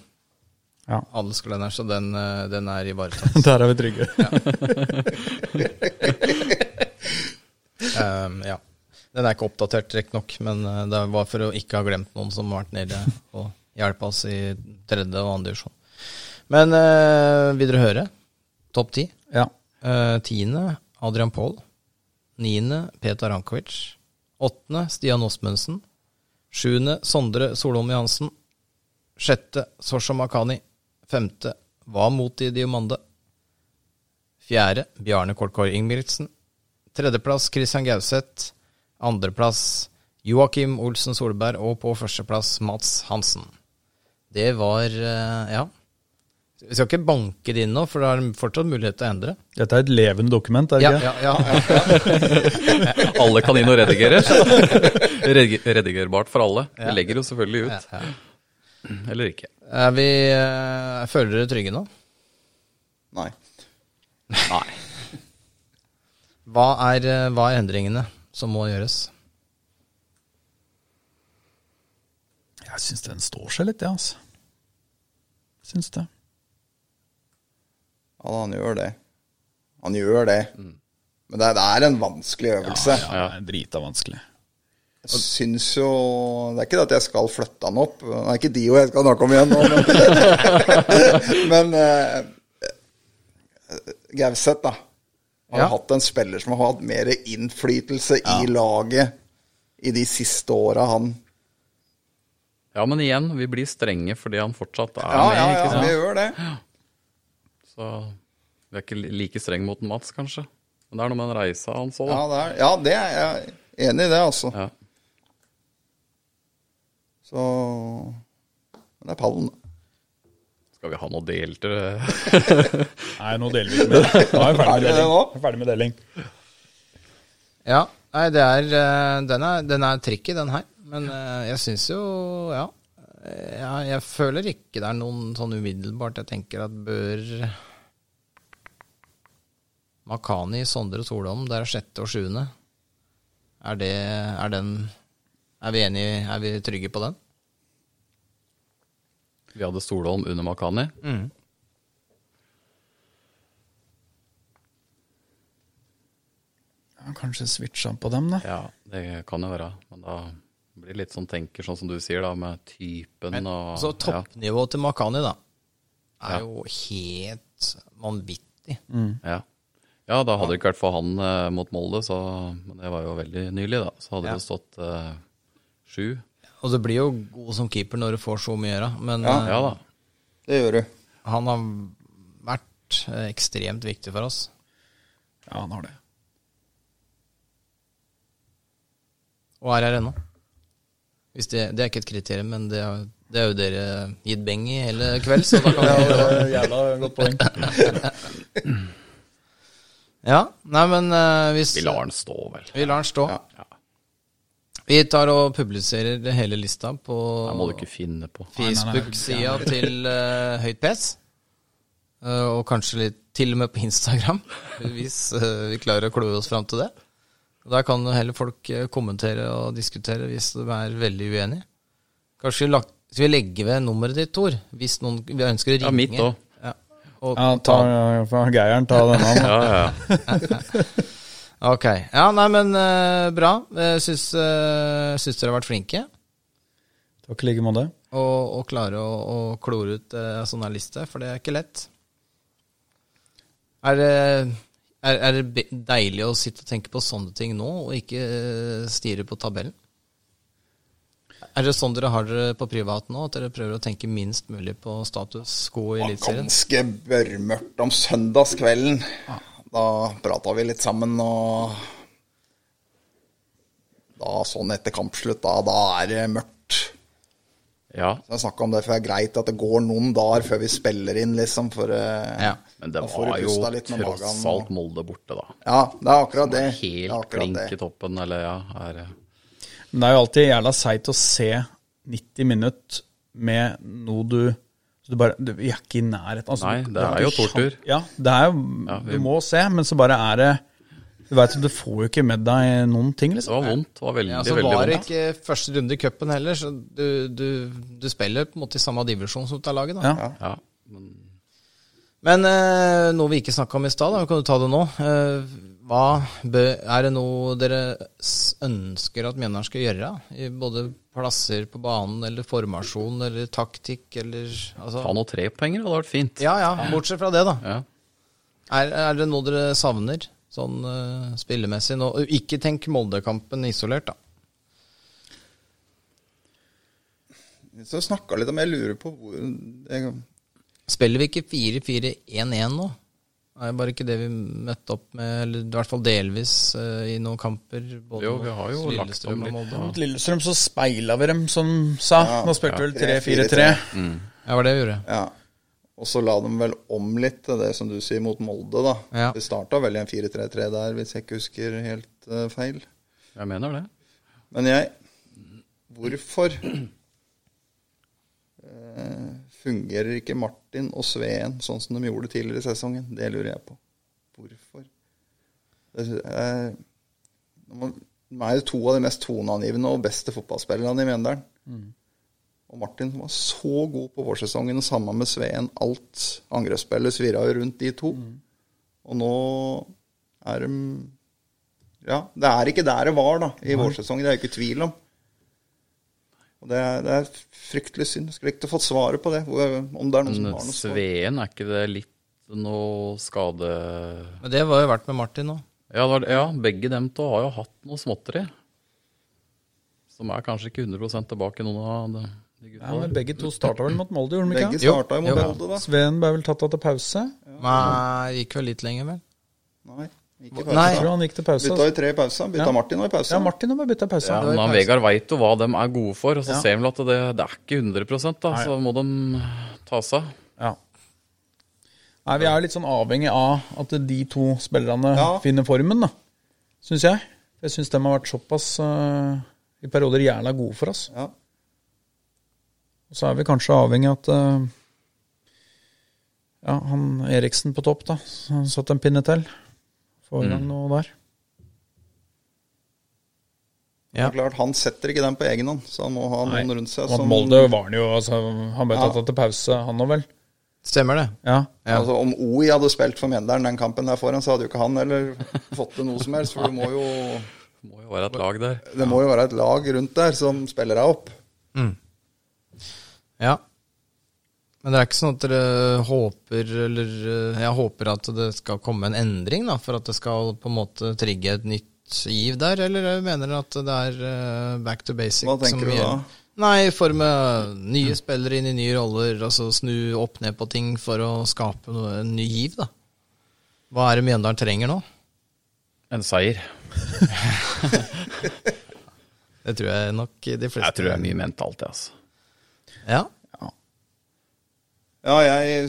Ja. Adelskalenderen, så den, eh, den er ivaretatt. Der er vi trygge. Ehm, ja. Den er ikke oppdatert riktignok, men eh, det var for å ikke ha glemt noen som har vært nede og hjelpe oss i tredje og andre divisjon. Men eh, vil dere høre? Topp ti? Ja. Eh, tiende Adrian Paul. Niende Peter Rankovic. Åttende Stian Osmundsen. Sjuende Sondre Solholm Johansen. Sjette Sosha Makani. Femte Hva mot i Diomande. Fjerde Bjarne Kolkår Ingebrigtsen. Tredjeplass Christian Gauseth. Andreplass Joakim Olsen Solberg. Og på førsteplass Mats Hansen. Det var eh, Ja. Vi skal ikke banke det inn nå, for det er fortsatt mulighet til å endre. Dette er et levende dokument, er Ja, det ikke? ja, ja. eh, Alle kan inn og redigere. Redig- Redigerbart for alle. Vi legger jo selvfølgelig ut. Eller ikke. Er vi, eh, føler dere trygge nå? nei. Nei. Hva er, eh, hva er endringene som må gjøres? Jeg syns den står seg litt, jeg, ja, altså. Syns det. Ja, han gjør det. Han gjør det. Men det, det er en vanskelig øvelse. Mm. Ja, det er drita vanskelig. Jeg syns jo Det er ikke det at jeg skal flytte han opp. Det er ikke Dio jeg skal snakke om igjen nå, men, men eh, Gauseth, da. Har Ja. hatt en spiller som har hatt mer innflytelse i laget i de siste åra han Ja, men igjen, vi blir strenge fordi han fortsatt er Ja, ja, med. ja, ikke sant? vi gjør det. Så vi er ikke li- like streng mot den Mats, kanskje. Men det er noe med den reisa han så, Ja, da. det er, ja, det er jeg er enig i det, altså. Ja. Så Men det er pallen, da. Skal vi ha noe delte Nei, nå deler vi ikke med det. Nå er vi Er ferdig med det det deling. nå? Vi er Ferdig med deling. Ja, nei, det er, eh, den, er, den er tricky, den her. Men eh, jeg syns jo, ja jeg, jeg føler ikke det er noen sånn umiddelbart jeg tenker at bør Makani, Sondre Solholm, der er sjette og sjuende. Er det Er den Er vi enige Er vi trygge på den? Vi hadde Stolholm under Makani. Ja, kanskje switcha på dem, da. Ja, det kan jo være. Men da blir det litt sånn tenker, sånn som du sier, da, med typen og Så ja, toppnivået til Makani, da, er Ja. jo helt vanvittig. ja. ja, da hadde det ikke vært for han eh, mot Molde, så Men det var jo veldig nylig, da. Så hadde det stått eh, sju. Og du blir jo god som keeper når du får så mye å gjøre, men Ja. eh, Ja da. Det gjør du. han har vært eh, ekstremt viktig for oss. Ja, han har det. Og er her ennå. Hvis det, det er ikke et kriterium, men det er, det er jo dere gitt beng i hele kveld, så da kan vi Jævla godt poeng. Ja, nei, men eh, hvis Vi lar den stå, vel. Vi lar den stå. Vi tar og publiserer hele lista på Det må du ikke finne på. Facebook-sida til eh, Høyt PS. Eh, og kanskje litt til og med på Instagram, hvis eh, vi klarer å klore oss fram til det. Og Der kan jo heller folk eh, kommentere og diskutere hvis de er veldig uenige. Kanskje vi lagt, skal vi legge ved nummeret ditt, Tor, hvis noen vi ønsker å ringe. Ja, mitt også. Ja. Og Ja, ta ja, Geiren, ta denne. Ja, ja. Ok. Ja, nei, men eh, bra. Jeg syns, eh, syns dere har vært flinke. Takk i like måte. Og, og klare å, å klore ut eh, sånn her liste, for det er ikke lett. Er det, er, er det be- deilig å sitte og tenke på sånne ting nå, og ikke eh, stirre på tabellen? Er det sånn dere har det på privat nå, at dere prøver å tenke minst mulig på status quo i Det var Eliteserien? ganske børmørkt om søndagskvelden. Da prata vi litt sammen, og da sånn etter kampslutt, da, da er det mørkt. ja. Så jeg snakka om det, for det er greit at det går noen dager før vi spiller inn, liksom. For eh, Ja, Men det da får du var jo pusta litt med tross magen, og- alt Molde borte, da. Ja, det er akkurat det. det, er Helt akkurat klink i det. toppen, eller ja. Er, Men det er jo alltid jævla seigt å se 90 minutter med noe du så du bare, du, Vi er ikke i nærheten. Altså, Nei, du- det er jo tortur. Ja, det er jo, Ja, vi- du må se, men så bare er det Du veit jo, du får jo ikke med deg noen ting, det liksom. var vondt. Det var veldig, Ja, så veldig var det vondt. ikke første runde i cupen heller, så du, du, du spiller på en måte i samme divisjon som dette laget, da. Ja. Ja. Men eh, noe vi ikke snakka om i stad, da, vi kan jo ta det nå. Eh, hva bø, er det noe dere s- ønsker at Mjøndalen skal gjøre? I både plasser på banen, eller formasjon, eller taktikk, eller Ta altså, noen trepoengere, det hadde vært fint. Ja ja, bortsett fra det, da. Ja. Er, er det noe dere savner sånn eh, spillemessig nå? Ikke tenk Molde-kampen isolert, da. Så snakka litt om Jeg lurer på hvor jeg, Spiller vi ikke 4-4-1-1 nå? Er bare ikke det vi møtte opp med, eller i hvert fall delvis, eh, i noen kamper? både Jo, vi har jo mot lagt om Lillestrøm og litt, Molde. ja. Mot Lillestrøm så speila vi dem, som sa. Nå spilte vi vel 3-4-3. Ja, var det jeg gjorde. Ja. Og så la de vel om litt til det som du sier, mot Molde, da. Ja. Det starta vel i en 4-3-3 der, hvis jeg ikke husker helt eh, feil. Jeg mener det. Men jeg Hvorfor eh, fungerer ikke Martin og Sveen sånn som de gjorde tidligere i sesongen? Det lurer jeg på. Hvorfor? Det sy- eh, når man- De er jo to av de mest toneangivende og beste fotballspillerne i Mjøndalen. Og Martin var så god på vårsesongen, og sammen med Sveen. Alt angrepsspillet svirra jo rundt de to. Og nå er de ja, det er ikke der det var da, i vårsesongen. Det er jeg ikke i tvil om. Og det er, det er fryktelig synd. Skulle likt å fått svaret på det. hvor- Om det er noen som Men har noe svar. Sveen, er ikke det litt noe skade... Men det var jo verdt med Martin nå. Ja, det var, ja begge dem to har jo hatt noe småtteri. Som er kanskje ikke 100 tilbake, noen av de, de Ja, gutta men der. begge to starta vel mot Molde, gjorde de Begge ikke? Jo, starta jo mot jo. Molde, da. Sveen ble vel tatt av til pause? Men gikk vel litt lenger, vel? Nei, ikke i Nei. Jeg tror pause. han gikk til da. Bytta pause. altså. jo tre i pausen. Bytta Ja. Martin òg i pausen. Ja, Martin har bare bytta pause. Ja, var i men han pause. Vegard veit jo hva de er gode for, og så Ja. ser de vel at det, det er ikke 100 da, så må de ta seg av. Ja. Nei, vi er jo litt sånn avhengig av at de to spillerne Ja. finner formen, da. Syns jeg. Jeg syns de har vært såpass eh, i perioder jævla gode for oss. Ja. Og så er vi kanskje avhengig av at eh, ja, han Eriksen på topp, da. Han satt en pinne til. Få Mm. i gang noe der. Det Ja. er klart, Han setter ikke den på egen hånd, så han må ha noen rundt seg. Og at som- Molde var han jo altså, Han ble Ja. tatt til pause, han òg vel? Stemmer det. Ja. Ja. Altså, om OI hadde spilt for Mjøndalen den kampen der foran, så hadde jo ikke han eller fått til noe som helst. For det må jo, Det må jo være et lag der. det må jo være et lag rundt der som spiller deg opp. Ja. Men det er ikke sånn at dere håper eller eh, Jeg håper at det skal komme en endring, da, for at det skal på en måte trigge et nytt giv der, eller mener dere at det er eh, back to basic Hva tenker du da? Nei, i form av nye spillere inn i nye roller, altså snu opp ned på ting for å skape noe, en ny giv, da. Hva er det Mjøndalen trenger nå? En seier. Det tror jeg nok de fleste Jeg tror det er mye mentalt, det, altså. Ja. Ja, jeg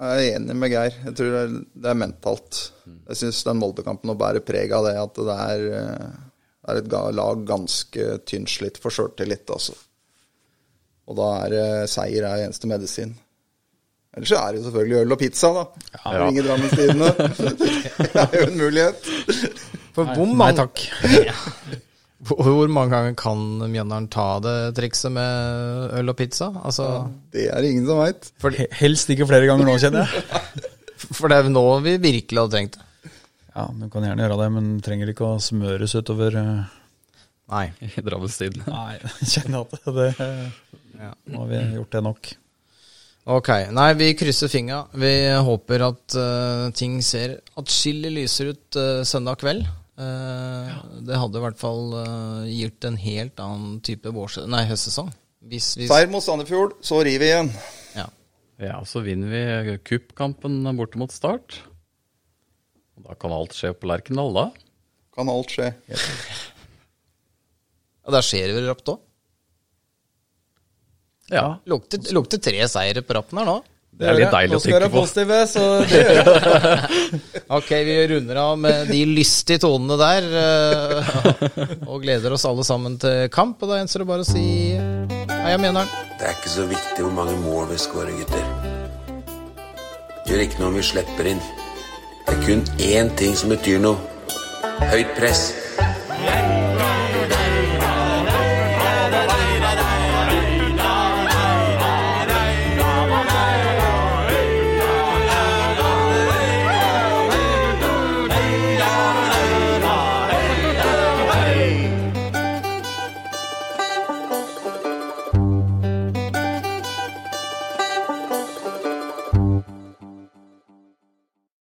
er enig med Geir. Jeg tror det er, det er mentalt. Jeg syns den Molde-kampen nå bærer preg av det at det er, eh, det er et ga- lag ganske tynnslitt for sjøltillit, altså. Og da er eh, seier er eneste medisin. Ellers så er det jo selvfølgelig øl og pizza, da. Ja. Ringe Drammens Tidende. det er jo en mulighet. For hvor Nei mange- takk. Hvor hvor mange ganger kan Mjøndalen ta det trikset med øl og pizza? Altså, Det er det ingen som veit. He- Helst ikke flere ganger nå, kjenner jeg. For det er jo nå vi virkelig hadde trengt det. Ja, Du kan gjerne gjøre det, men trenger ikke å smøres utover eh, Nei. I Drammens Tidende. Nei, jeg kjenner at det eh, Nå har vi gjort det nok. Ok. Nei, vi krysser fingra. Vi håper at eh, ting ser atskillig lysere ut eh, søndag kveld. Eh, Det hadde i hvert fall eh, gitt en helt annen type vårse... Nei, høstsesong. Hvis vi Seier mot Sandefjord, så river vi igjen. ja. Ja, så vinner vi kuppkampen borte mot start. Og da kan alt skje på Lerkendal, da. Kan alt skje. Og der skjer det vel rapt òg. Ja. Lukter, lukter tre seire på rappen her nå. Det er litt deilig å tenke på. positive, så Ok, vi runder av med de lystige tonene der. eh, Og gleder oss alle sammen til kamp. Og da gjenstår det bare å si Heia Mjøndalen. Det er ikke så viktig hvor mange mål vi skårer, gutter. Det gjør ikke noe om vi slipper inn. Det er kun én ting som betyr noe. Høyt press.